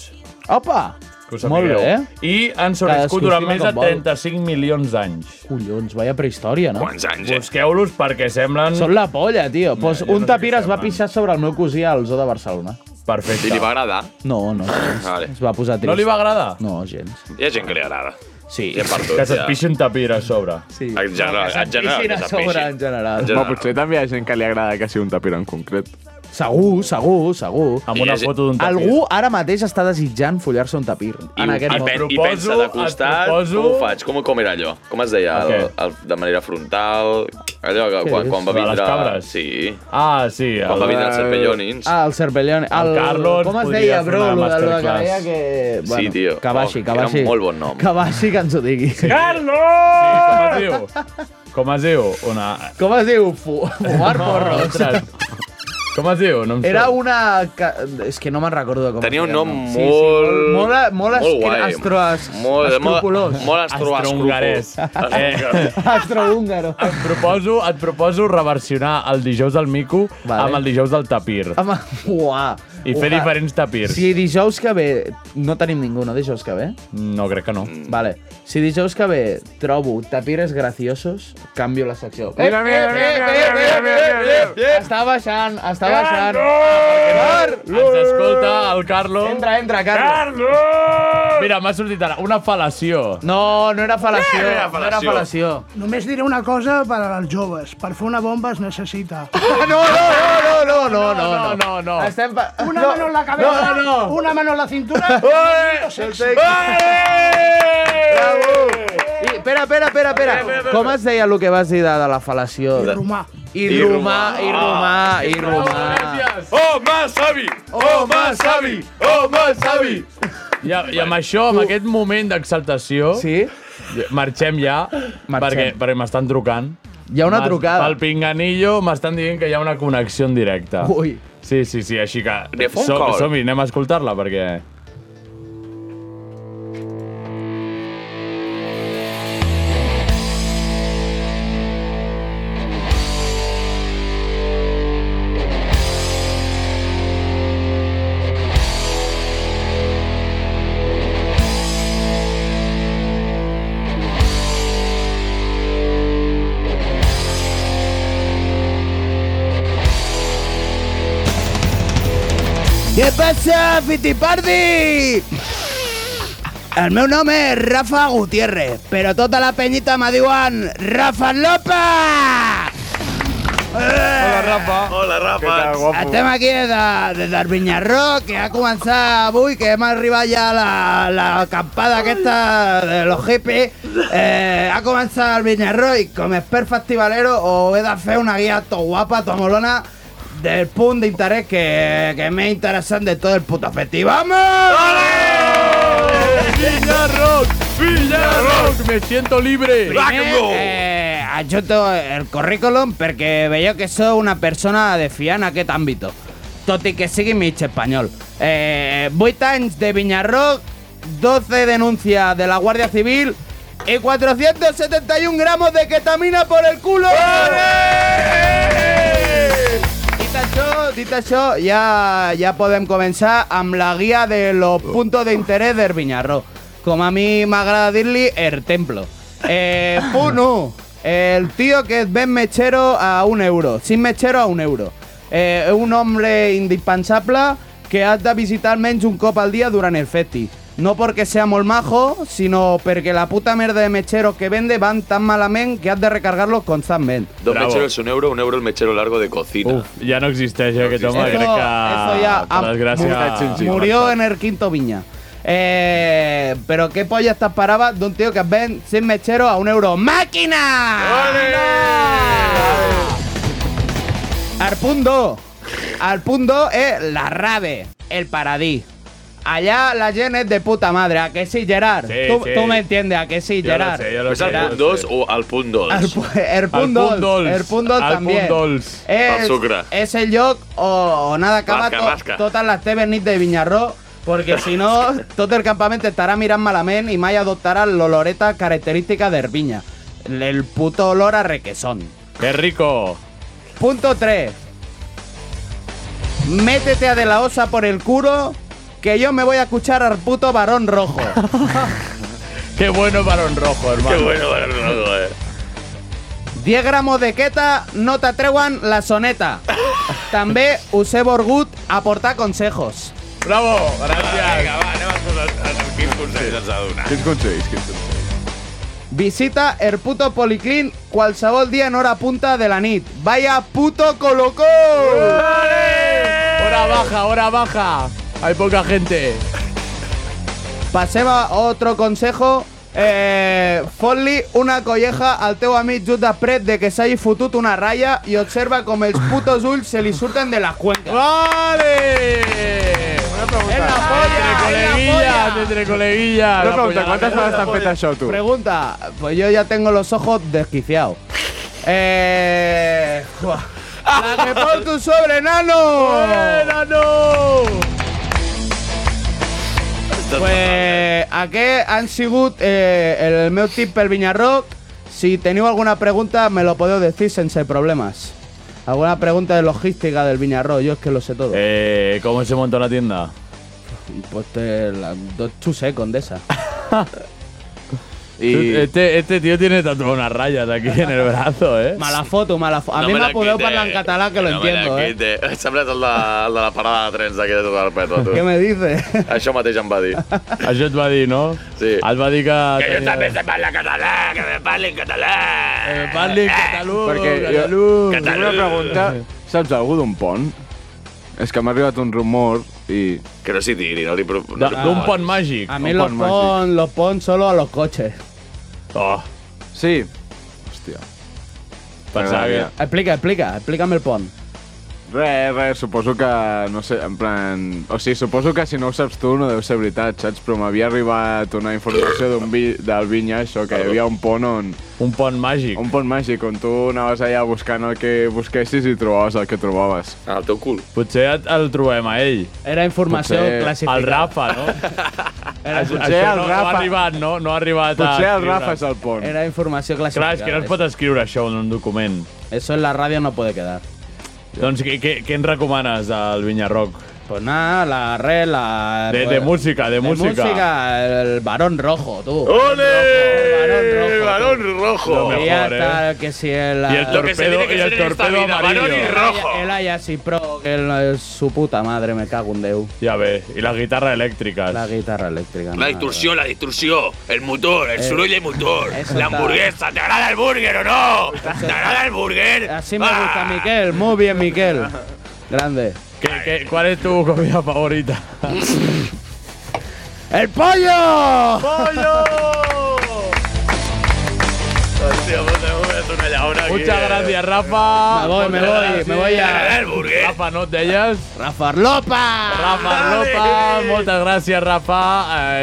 Opa!
Que ho
Molt
sapigueu.
bé.
I han sobreviscut durant més de
estima com vol.
35 milions d'anys.
Collons, vaya prehistòria, no?
Quants anys, eh?
Busqueu-los perquè semblen...
Són la polla, tio. Pues
jo
un
no sé
tapir es va pixar sobre el meu cosí al zoo de Barcelona.
Perfecte.
I li va agradar?
No, no.
Vale.
Es va posar trist.
No li va
agradar?
No, gens.
Hi ha gent que li agrada.
Sí.
Hi ha per tot,
Que se't
ja.
pixi un tapir a sobre.
Sí.
En general, en general, que se't pixi.
general.
Home, potser també hi ha gent que li agrada que sigui un tapir en concret.
Segur, segur, segur.
Amb una foto d'un tapir.
Algú ara mateix està desitjant follar-se un tapir.
I,
en
i,
aquest
pen,
moment.
I pensa de costat,
proposo-
com ho faig? Com, com era allò? Com es deia?
El què?
El, el, de manera frontal? Allò que
Què
quan, quan va
és? De les
vindre...
cabres?
Sí.
Ah, sí.
Quan va vindre el Serpellonins.
Ah, el Cerpellón. El,
El Carlos
Com es
podria
deia,
fer
bro?
una
Lo, de- lo de que deia
masterclass.
que...
Sí, tio.
Que baixi,
Oh,
que
era
baixi.
un molt bon nom.
Que baixi, que ens ho digui. Sí.
Carlos! Sí, com es diu? Com es diu? Una...
Com es diu? Fu- Fumar porros.
Ostres. Com es diu? No em
Era
surt.
una... ca- És que no me'n recordo de com
Tenia
es
un
deia el
nom
Sí, sí,
molt...
molt, molt, molt,
molt
escre-
guai.
astro, as,
Molt,
escrupolós.
molt, molt
Astrohongarès.
astrohongarès.
Eh,
Astrohúngaro.
et, proposo, et proposo reversionar el dijous del mico vale. amb el dijous del tapir.
Home, uà.
I fer
uà.
diferents tapirs.
Si dijous que ve... No tenim ningú, no? Dijous que ve?
No, crec que no.
Mm. Vale. Si dijous que ve trobo tapires graciosos, canvio la secció.
Mira, mira, mira, mira, mira, mira, mira,
Està baixant, està baixant.
Ens escolta el Carlo.
Entra, entra, Carlos.
Mira, m'ha sortit ara una fal·lació.
No, no era fal·lació.
Eh, no era
No era
fal·lació.
fal·lació.
Només diré una cosa per als joves. Per fer una bomba es necessita...
Ah, No, no, no, no, no,
no,
no, no. Estem pa...
Una
no,
mano en la cabeza,
No, no. Oh!
una mano en la cintura...
Ole,
sexy.
Bravo. I, espera, espera, espera, espera. Com es deia el que vas dir de, de la fal·lació?
Irrumà.
Irrumà, irrumà, irrumà.
Oh, más savi! Oh, más savi! Oh, más savi!
I, I amb això, amb aquest moment d'exaltació,
sí?
marxem ja, perquè, perquè m'estan trucant.
Hi ha una
M'has-
trucada.
Pel pinganillo m'estan dient que hi ha una connexió en directe.
Ui.
Sí, sí, sí, així que...
De phone
som-
call.
Som-hi, anem a escoltar-la, perquè...
Què passa, Fitipardi? El meu nom és Rafa Gutiérrez, però tota la penyita me diuen Rafa López! Hola,
Rafa. Hola, Rafa.
Estem aquí des, de, des del Vinyarró, que ha començat avui, que hem arribat ja a la, la acampada aquesta de los hippies. Eh, ha començat el Vinyarró i com a expert festivalero ho he de fer una guia to guapa, to molona, del punt d'interès que, que més interessant de tot el puto festival. ¡Vamos!
¡Villarrock! ¡Villarrock! ¡Me siento libre!
Primer, eh, adjunto el currículum perquè veieu que sou una persona de fiar en aquest àmbit. Tot i que sigui mig espanyol. Eh, 8 anys de Vinyarroc, 12 denuncias de la Guardia Civil y 471 gramos de ketamina por el culo. Dit això, dit això, ja, ja podem començar amb la guia de los puntos de interés del Viñarro. Com a mi m'agrada dir-li, el templo. Eh, punt 1. El tío que ven mechero a un euro. Sin mechero a un euro. Eh, un hombre indispensable que has de visitar almenys un cop al dia durant el festi. No perquè sea molt majo, sinó perquè la puta merda de mecheros que vende van tan malament que has de recargar-los constantment.
Dos
Bravo.
mecheros, un euro, un euro el mechero largo de cocina.
Uf, ja no existeix eh, aquest home,
existeix.
crec que...
Eso ya
Per
ha-
desgràcia...
murió en el quinto viña. Eh, pero qué polla estás parada de un tío que ven sin mechero a un euro. ¡Máquina! Al punto. Al punto es la rave, el paradí. Allá la gent és de puta madre, a que sí, Gerard?
Sí,
tu,
sí.
tu me entiendes, a que sí, Gerard? Pues
¿Es al punt 2 o al punt 2?
El, pu- el punt
Al punt
dolç.
dolç.
El punt dolç
Al
també.
punt dolç. El sucre.
És el lloc on ha d'acabar
Rasca,
to-
rasca.
totes les teves nits de Vinyarró, perquè si no, tot el campament t'estarà mirant malament i mai adoptarà l'oloreta característica d'Ervinya. El puto olor a requesón.
¡Qué rico!
Punto 3. Métete a de la osa por el culo, que yo me voy a escuchar al puto varón rojo.
Qué bueno varón rojo, hermano.
Qué bueno varón rojo, eh.
10 gramos de queta no te atreuen la soneta. També us he volgut aportar consejos.
Bravo, gràcies.
Vinga, va, anem a escoltar els- quins consells ens ha donat.
Quins consells? Quins consells?
Visita el puto policlín qualsevol dia en hora punta de la nit. Vaya puto colocó!
Hora baja, hora baja. Hay poca gente.
Passem a otro consejo. Eh, Fot-li una colleja al teu amic just després de que s'hagi fotut una ratlla i observa com els putos ulls se li surten de les cuenques.
Vale! Una pregunta.
la
entre coleguillas, entre coleguillas.
Una pregunta, ¿cuántas horas t'han fet
això, tu?
Pregunta, pues yo ya tengo los ojos desquiciados. Eh... ua. La que por tu sobre, nano!
nano!
Pues aquest han sigut eh, el meu tip pel Vinyarroc. Si teniu alguna pregunta, me lo podeu decir sense problemes. Alguna pregunta de logística del Viñarro, yo es que lo sé todo.
Eh, ¿cómo se monta una tienda?
Pues te la do- tú sé, condesa.
Tú- Este, este tío tiene tatuado unas rayas aquí en el brazo, eh.
Mala foto, mala foto. A
No
mi
me la
m'ha podeu
quite,
parlar en català, que lo
no me la
entiendo, eh.
quite. Em sembla el de, el de la parada de trens d'aquí de tot Perpetua, tu.
¿Qué me dices?
Això mateix em va dir.
Això et va dir, no? Sí. Et va dir que... eh,
Que jo
tenia-
també sé parlar català, que me parli en català.
Eh,
Que me
parli en català.
Perquè jo... Tinc una pregunta. Saps algú d'un pont? És que m'ha arribat un rumor i...
Que no s'hi tiri, no li... Pro...
no li proposis.
A mí los pon, los pon solo a los coches.
Oh.
Sí. Hòstia.
Pensava que...
Explica, explica, explícame el pon.
Res, res, suposo que, no sé, en plan... O sigui, suposo que si no ho saps tu no deu ser veritat, saps? Però m'havia arribat una informació d'un vi, del vinya, això, que hi havia un pont on...
Un pont màgic.
Un pont màgic, on tu anaves allà buscant el que busquessis i trobaves el que trobaves.
Al Ah, teu cul.
Potser et- el trobem a ell.
Era informació
Potser-
classificada.
El Rafa, no?
Era
Això- això no, no ha arribat, no? No ha arribat a escriure.
Era informació classificada.
Clar, és que no es pot escriure això en un document.
Eso en la ràdio no puede quedar.
Doncs què, què, què ens recomanes del Vinyarroc?
Pues nada, la red, la...
De, de música, de,
Ah, De música. el varón rojo, tú.
¡Ole! Balón rojo.
Y ya
eh.
está, que si el...
Y el Lo que se torpedo- tiene que y el ser en esta torpedo vida, amarillo. varón y rojo.
El Ayasi Pro, que el- el- su puta madre, me cago en Déu.
Ja ve, i les guitarres elèctriques.
La guitarra elèctrica.
La distorsió, la distorsió, el motor, el
Eh,
soroll i motor,
eso está.
la hamburguesa, ¿t'agrada el burger o no? ¿T'agrada el burger? Ah.
Así me gusta Miquel, muy bien Miquel. Grande.
¿Qué, qué, ¿Cuál es tu comida favorita?
¡El pollo!
¡Pollo!
Hòstia, puta, m'he fet una llauna aquí.
Muchas gracias, Rafa.
Me voy, me voy, me voy a-
Rafa, no te ellas.
Rafa Arlopa.
Rafa Arlopa, moltes gràcies, Rafa.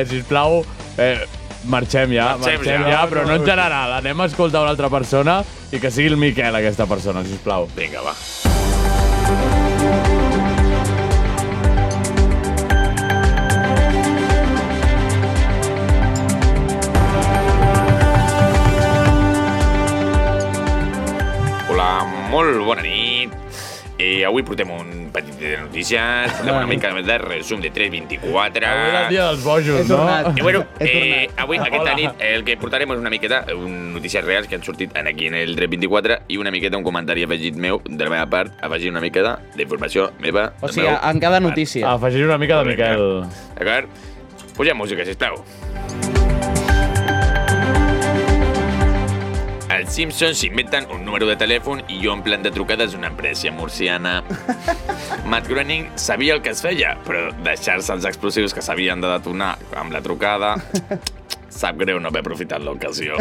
Eh, sisplau, eh, marxem ja,
Marxem
marxem,
ja.
ja, però no en general. Anem a escoltar una altra persona i que sigui el Miquel, aquesta persona, sisplau.
Vinga, va. Hola, molt bona nit. Eh, avui portem un petit de notícies, portem una mica de resum de 3.24.
Avui és el dia dels bojos, no?
I bueno,
He
eh, avui, aquesta
Hola.
nit, el que portarem és una miqueta eh, un, notícies reals que han sortit en aquí en el 324 i una miqueta un comentari afegit meu, de la meva part, afegir una miqueta d'informació meva.
O
del
sigui,
meu.
en cada notícia.
Afegir una mica de Miquel.
D'acord? Posem música, sisplau. Els Simpsons s'inventen un número de telèfon i omplen de trucades una empresa murciana. Matt Groening sabia el que es feia, però deixar-se els explosius que s'havien de detonar amb la trucada... Sap greu no haver aprofitat l'ocasió.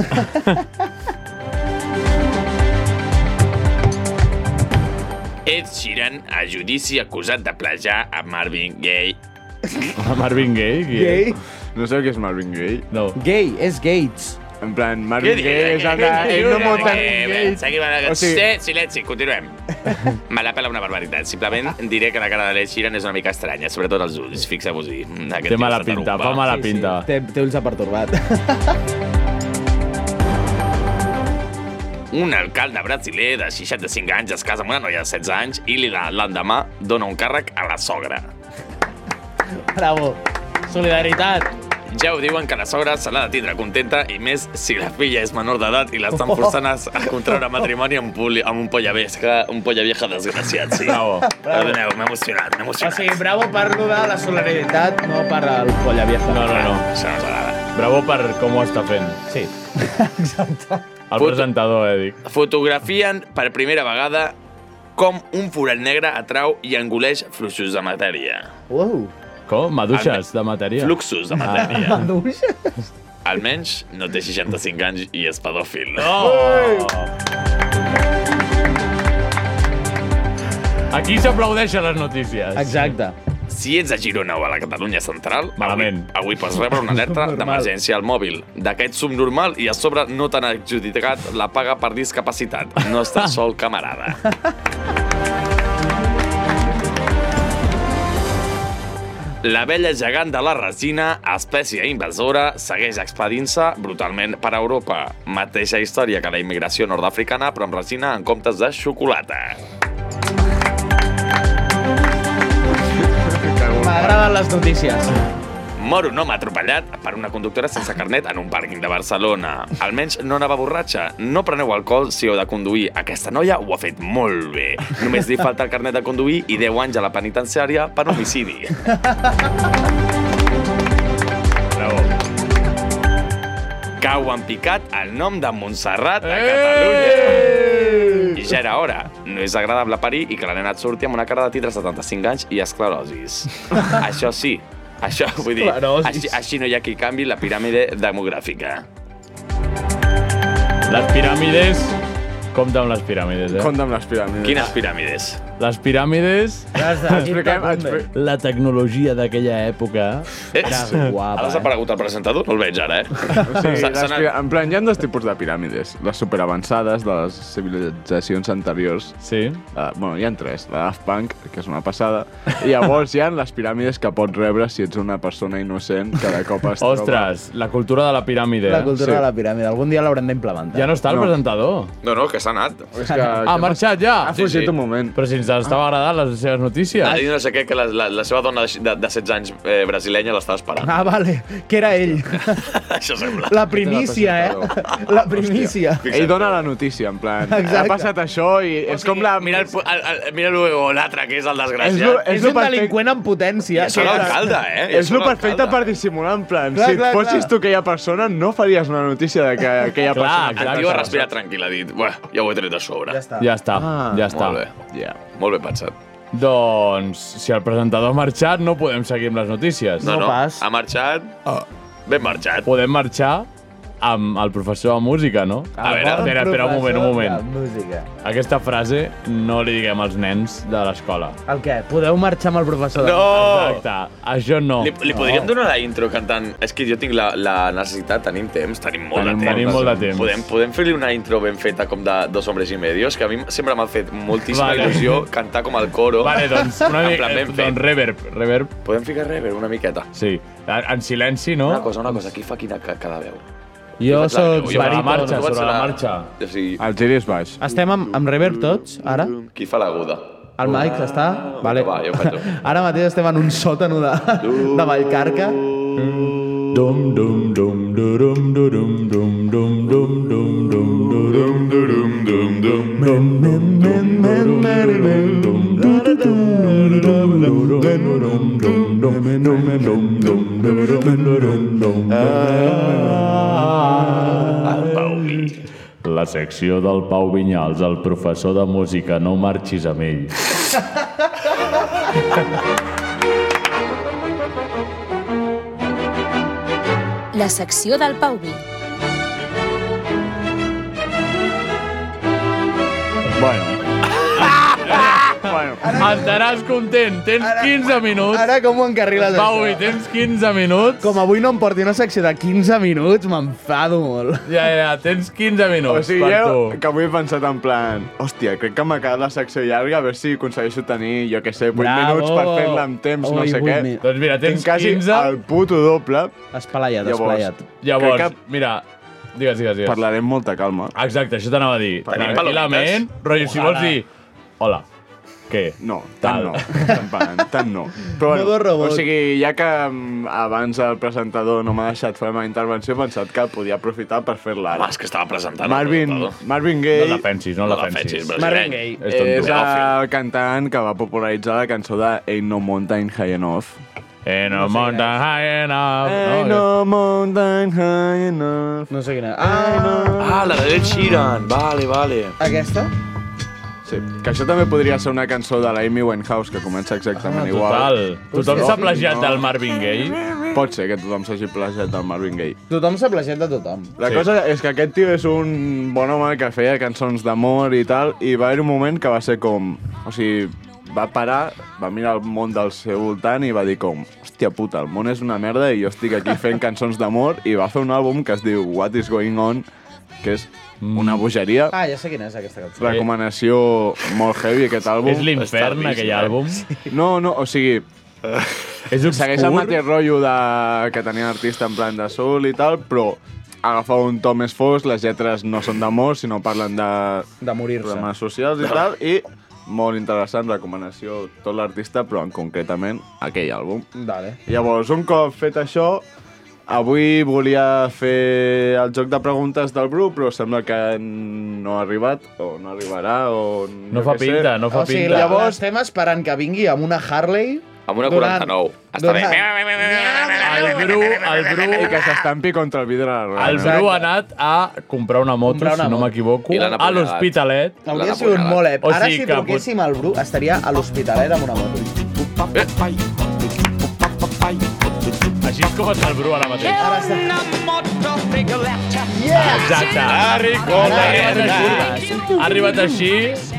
Ed Sheeran a judici acusat de plagiar a Marvin Gaye
Marvin Gaye? Qui
Gaye?
No sé què és Marvin Gaye.
No.
Gay, és Gates.
En plan, Marvin Gaye és el de... Ell no munta... O sigui-
Sí, silenci, continuem. Me la pela una barbaritat. Simplement diré que la cara de l'Ed Sheeran és una mica estranya, sobretot els ulls. Fixeu-vos-hi. Aquest
Té
tio
mala
està
pinta,
tarumba.
fa mala pinta.
Té, té ulls pertorbat.
Un alcalde brasiler de 65 anys es casa amb una noia de 16 anys i li da- l'endemà dona un càrrec a la sogra.
Bravo. Solidaritat.
Ja ho diuen que la sogra se l'ha de tindre contenta i més si la filla és menor d'edat i
Oh.
l'estan forçant a, a contraure matrimoni amb, poli, amb un polla vieja, un polla vieja desgraciat, sí.
Bravo.
Perdoneu, m'he emocionat, m'he
O
Ah,
emocionat.
sigui, bravo per lo de la solidaritat, no per el polla vieja.
No, no, no.
Això no s'agrada.
Bravo per com ho està fent.
Sí.
El presentador, eh, dic.
Fotografien per primera vegada com un forat negre atrau i engoleix fluxos de matèria.
Uau.
Com? Maduixes de matèria?
Fluxos de matèria.
Maduixes?
Almenys no té 65 anys i és pedòfil.
Oh! Aquí s'aplaudeixen les notícies.
Exacte.
Si ets a Girona o a la Catalunya central, Malament. avui, avui pots rebre una alerta d'emergència al mòbil. D'aquest subnormal i a sobre no t'han adjudicat la paga per discapacitat. No estàs sol, camarada. L'abella gegant de la resina, espècie invasora, segueix expedint-se brutalment per Europa. Mateixa història que la immigració nord-africana, però amb resina en comptes de xocolata.
M'agraden les notícies.
Mor un home atropellat per una conductora sense carnet en un pàrquing de Barcelona. Almenys no anava borratxa. No preneu alcohol si heu de conduir. Aquesta noia ho ha fet molt bé. Només li falta el carnet de conduir i 10 anys a la penitenciària per homicidi. Bravo. Cau en picat el nom de Montserrat a
Eh!
Catalunya. I ja era hora. No és agradable parir i que la nena et surti amb una cara de titre de 75 anys i esclerosis. Això sí, això, vull dir,
Esclerosis.
així, així no hi ha qui canvi la piràmide demogràfica.
Les piràmides... Compte amb les piràmides, eh?
Compte amb les piràmides.
Quines piràmides?
Les piràmides...
Has de- Expliquem- Ah,
La tecnologia d'aquella època
Eh?
era guapa.
Ha desaparegut el presentador? No el veig ara, eh?
O sigui,
S'ha-
les
s'ha anat-
pi- en plan, hi ha dos tipus de piràmides. Les superavançades de les civilitzacions anteriors.
Sí.
Uh, bueno, hi ha tres. La Daft Punk, que és una passada. I llavors hi ha les piràmides que pots rebre si ets una persona innocent que de cop es
Ostres, la cultura de la piràmide.
La cultura de la piràmide. Algun dia l'hauran d'implementar.
Ja no està el presentador.
No, no, que s'ha anat.
ha marxat ja?
Ha fugit Sí, sí. un
moment.
Però si ens estava agradant les seves notícies.
Ha dit no sé què, que la, la, la seva dona de, de, de 16 anys eh, brasilenya l'estava esperant.
Ah, vale, que era ell.
Això sembla.
La primícia, eh? La primícia.
Ell dona la notícia, en plan, Exacte. ha passat això i és com la...
Mira el, pu- el, el, mira el, l'altre, que és el
És lo-
desgraciat.
és És lo un perfecte-
delinqüent en potència.
I és l'alcalde, eh? I
És
és
lo
un
perfecte per dissimular, en plan,
Clar,
si
clar,
et fossis
clar.
tu aquella persona, no faries una notícia de que aquella persona...
El tio ha respirat tranquil, ha dit, "Buah, ja ho he tret de sobre. Ja
Ja està, Ah. ja està.
Molt bé,
yeah.
molt bé pensat.
Doncs, si el presentador ha marxat, no podem seguir amb les notícies.
No, no, ha marxat,
Oh.
ben marxat.
Podem marxar amb el professor de música, no?
A veure.
espera, espera un moment, un
La
moment.
música.
Aquesta frase no li diguem als nens de l'escola.
El què? Podeu marxar amb el professor? de-
No!
Exacte, això no.
Oh. Li, li podríem donar la intro cantant... És que jo tinc la, la necessitat, tenim temps, tenim molt
Tenim
de temps.
molt de temps.
Podem, podem fer-li una intro ben feta com de dos homes i medios, que a mi sempre m'ha fet moltíssima
Vale.
vale. il·lusió cantar com el coro.
Vale, doncs, una
En
mica,
plan ben fet.
doncs reverb, reverb.
Podem ficar reverb una miqueta.
Sí, en en silenci, no?
Una cosa, una cosa, qui fa quina ca- cada veu?
Jo
Qui fa cada
sóc
veu? Jo faig la
baríton.
marxa,
Tu faig
sobre la
la-
marxa. O sigui,
El giri és baix.
Estem amb, amb reverb tots, ara?
qui fa l'aguda?
El Mike està? Vale.
Ah, Va, jo faig
Ara mateix estem en un sòtano de, de Vallcarca.
Dum, dum, dum, durum, durum, dum, dum, dum, dum, dum, durum, durum, dum, dum, dum, dum, dum, durum, durum, dum, dum, dum, dum, dum, dum, dum, dum, dum, dum, dum, durum, durum, dum, dum. La secció del Pau Vinyals, el professor de música, no marxis amb ell.
La secció del Pauvi.
Bueno.
Bueno, estaràs content. Tens 15 minuts.
Ara com ho encarriles,
Pau,
això?
i tens 15 minuts.
Com avui no em porti una secció de 15 minuts, m'enfado molt.
Ja, ja, tens 15 minuts
O sigui,
per
jo,
tu.
que avui he pensat en plan, hòstia, crec que m'ha quedat la secció llarga, a veure si aconsegueixo tenir, jo què sé, 8
Bravo.
minuts per fer-la amb temps, no
Ui,
sé
vuit
què.
mi- Doncs mira, tens
Tinc quasi
15.
el puto doble.
Espalaiat, espalaiat.
Llavors, mira, digues, digues, digues.
Parlarem amb molta calma.
Exacte, això t'anava a dir.
Tenim
Tranquil·lament,
palomites?
rotllo, si vols
Ojalà.
dir... Hola, què?
No,
Tal.
tant no. Tant, van, tant no. Però
Modo
bueno, o
robot.
sigui, ja que mm, abans el presentador no m'ha deixat fer la meva intervenció, he pensat que podia aprofitar per fer-la ara.
Home, Ah, és que estava presentant el
Marvin,
presentador.
Marvin Gaye...
No defensis, no No defensis. defensis, brasileño.
Marvin
És
Gaye
tonto.
és,
Pedòfil.
el cantant que va popularitzar la cançó de Ain't No Mountain High Enough.
Ain't no mountain high enough.
Ain't Eh, no mountain high enough.
No sé quina.
Ah, la de Ed Sheeran. Vale, vale.
Aquesta?
Sí. Que això també podria ser una cançó de la Amy Winehouse, que comença exactament
Ah,
igual.
total. Tothom s'ha plagiat del
Marvin Gaye? Pot ser que tothom s'hagi plagiat del Marvin Gaye.
Tothom s'ha plagiat de tothom.
La sí. cosa és que aquest tio és un bon home que feia cançons d'amor i tal, i va haver un moment que va ser com... O sigui, va parar, va mirar el món del seu voltant i va dir com hòstia puta, el món és una merda i jo estic aquí fent cançons d'amor i va fer un àlbum que es diu What is going on, que és
Mm.
una bogeria.
Ah, ja sé quina és aquesta
Eh.
cançó.
Recomanació molt heavy, aquest àlbum.
És l'infern,
Està
aquell
tardíssim, eh?
àlbum.
No, no, o sigui...
És
Segueix el
obscur.
mateix rotllo de... que tenia l'artista en plan de sol i tal, però agafa un to més fosc, les lletres no són d'amor, sinó parlen de...
De morir-se.
Problemes socials i tal, i molt interessant, recomanació tot l'artista, però en concretament aquell àlbum.
Vale.
Llavors, un cop fet això, avui volia fer el joc de preguntes del Bru, però sembla que no ha arribat, o no arribarà, o...
No fa pinta, no
O sigui, llavors...
Llavors,
estem esperant que vingui amb una Harley...
Amb una
donant-
49. Està bé.
donant-
El Bru, el Bru...
I que s'estampi contra el vidre de la roda.
El Bru ha anat a comprar una moto,
Comprar una
si no
moto.
m'equivoco,
I
a
l'han apunyalat.
l'Hospitalet.
Hauria sigut molt ep. Ara, si truquéssim al Bru, estaria a l'hospitalet amb una moto.
Així és com està el Bru ara mateix.
Ara està.
Exacte.
Ah, rico,
Ha
eh?
arribat així, ha arribat així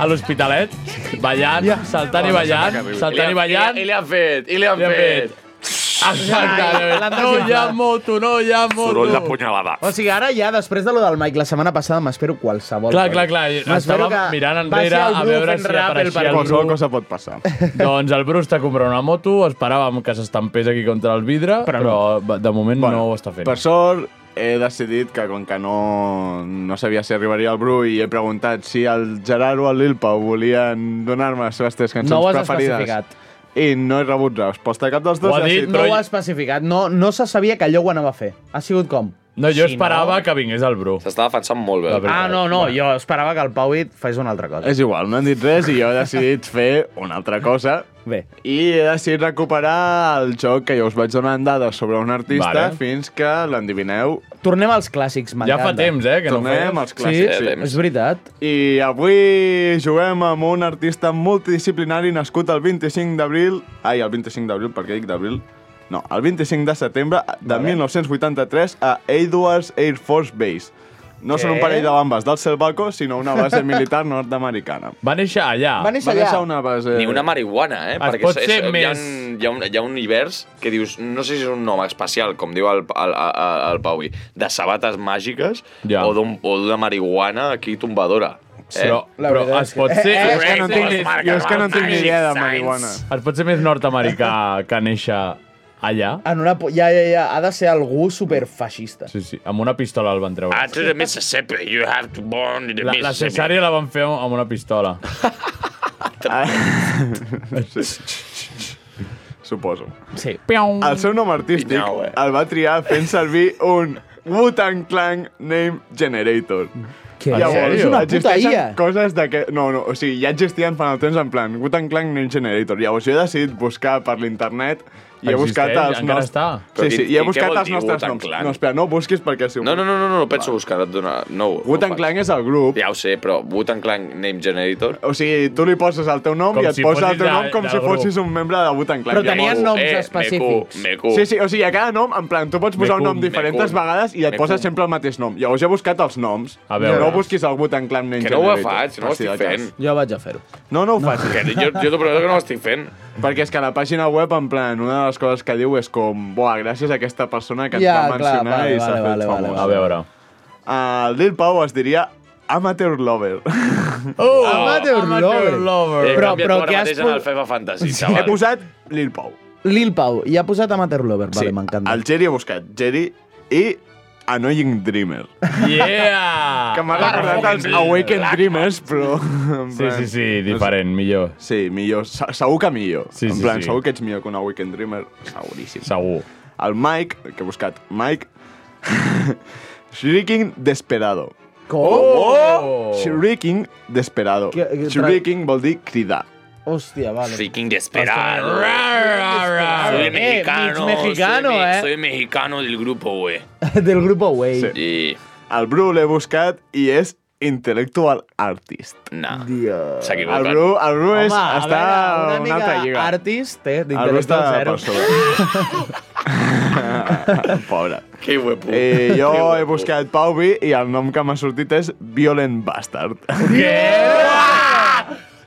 a l'Hospitalet, ballant, saltant i ballant, saltant i ballant.
I li han fet, i li han
Li han
fet.
Exacte.
L'han
No hi ha
desinflat.
moto, no hi ha moto.
Soroll de punyalada.
O sigui, ara ja, després de lo del Mike la setmana passada, m'espero qualsevol.
Clar,
cosa.
clar, clar.
M'espero
Estàvem
que
mirant
passi
enrere
el
a
Bru
veure
fent
si
rap el
apareixia el
Qualsevol
Bru.
cosa pot passar.
Doncs el Bru està comprant una moto, esperàvem que s'estampés aquí contra el vidre, però, va- de moment no ho està fent.
Per sort, he decidit que com que no, no sabia si arribaria el Bru i he preguntat si el Gerard o el Lil Pau volien donar-me les seves tres cançons
No ho has
preferides.
especificat.
I no he rebut resposta a cap dels dos.
Ho ha
i
dit,
així-
no ho ha especificat. No, no se sabia que allò ho anava a fer. Ha sigut com?
No, jo esperava que vingués el Bru.
S'està defensant molt bé.
Ah, no, no, jo esperava que el Pauit fes una altra cosa.
És igual, no han dit res i jo he decidit fer una altra cosa.
Bé.
I he decidit recuperar el joc que jo us vaig donant dades sobre un artista
Vale.
fins que l'endivineu.
Tornem als clàssics, m'encanta.
eh?
Tornem als clàssics.
Sí, és veritat.
I avui juguem amb un artista multidisciplinari nascut el 25 d'abril... Ai, el 25 d'abril, per què dic d'abril? No, el 25 de setembre de 1983 a Edwards Air Force Base. No són un
Què?
parell de bambes del Selvaco, sinó una base militar nord-americana.
Ah, Va néixer allà.
Va néixer,
allà.
una base...
Ni una marihuana, eh?
Es pot
és- és-
ser
Hi ha,
més.
un- hi, ha un, hi ha un univers que dius, no sé si és un nom especial, com diu el, el, el, el Paui, de sabates màgiques
Ja.
o d'un- o d'una marihuana aquí tombadora.
Sí, però- La però veritat es és que- pot ser-
Jo eh, és que eh, no tinc ni- jo és que no tinc ni idea de marihuana.
Et pot ser més nord-americà que néixer allà?
En una... po- Ja, ja, ja. Ha de ser algú superfeixista.
Sí, sí, amb una pistola el van treure.
Ah, to the Mississippi, you have to burn the
La, la
Mississippi.
cesària la van fer amb una pistola.
sí. Suposo.
Sí.
El seu nom artístic
Piau, eh?
el va triar fent servir un Wu-Tang Clan Name Generator.
Què? En sèrio? És una puta
existeixen
IA.
coses de que... No, no, o sigui, ja existien fa el temps en plan Wu-Tang Clan Name Generator. Llavors jo he decidit buscar per l'internet I he buscat
Existeix?
els
Encara
nostres...
està?
Sí, sí,
Però i-
i he
i què
buscat
vol
els
dir
nostres
Wu-Tang
noms.
Clan?
No, espera, no ho busquis perquè... Si ho-
No, no, no, no, no, no penso buscar, et dona... No,
Wu-Tang Clan és el grup.
Ja ho sé, però Wu-Tang Clan Name Generator...
O sigui, tu li poses el teu nom
Com
i et
si
posa
fossis
el teu
de-
nom com
del
si
grup.
fossis un membre de Wu-Tang Clan.
Però tenien Mecu, noms eh, mecu, específics. mecu.
Sí, sí, o sigui, a cada nom, en plan, tu pots posar un
Mecu,
nom diferents
mecu,
vegades i et
mecu.
poses sempre el mateix nom. Llavors he buscat els noms.
A veure.
No busquis el Wu-Tang Clan Ninja
Que no ho
Generator,
faig, no ho
per si
estic
de cas.
fent.
Jo vaig a fer-ho.
No, no ho facis.
Que jo, jo t'ho prometo que no ho estic fent.
Perquè és que a la pàgina web, en plan, una de les coses que diu és com, buah, gràcies a aquesta persona que ens
Ja,
va
clar,
mencionar
vale,
i s'ha
vale,
fet
vale, vale,
famós.
vale. A veure.
El Lil Pau es diria Amateur Lover.
Oh,
Amateur Lover.
Eh,
Però,
canvia
però
tu ara
què has...
mateix en el
pos-
FIFA Fantasy, xaval.
He posat Lil Pau.
Lil Pau, i ha posat Amateur Lover. Vale, m'encanta.
El Jerry he buscat Jerry i Ah, Annoying Dreamer.
Yeah! Ah,
que m'ha recordat els Awakened Dreamers, però... en
Sí, sí, sí, diferent, millor.
Sí, millor. Se- Segur que millor.
Sí,
en
sí,
plan,
sí.
segur que ets millor que un Awakened Dreamer. Seguríssim.
Segur.
El Mike, que he buscat Mike... Shrieking Desperado.
Com?
Ah, Oh! Shrieking Desperado.
Que- que tra-
Shrieking vol dir cridar.
Hòstia, vale.
Freaking desesperado.
Eh,
Ah, Soy
mig
mexicano.
mexicano,
soy, me-
eh.
Soy mexicano del grupo, E. güey.
Del grup Away.
Sí.
I...
El Bru l'he buscat i és Intellectual Artist.
No.
Dios.
S'ha
El Bru, el Bru és,
Home, a
està
veure,
una, una altra lliga.
Artist, eh,
El Bru
d'interès
està
del
per
zero.
sobre. Pobre.
Que huepo.
Eh, jo he buscat Pau Vi i el nom que m'ha sortit és Violent Bastard.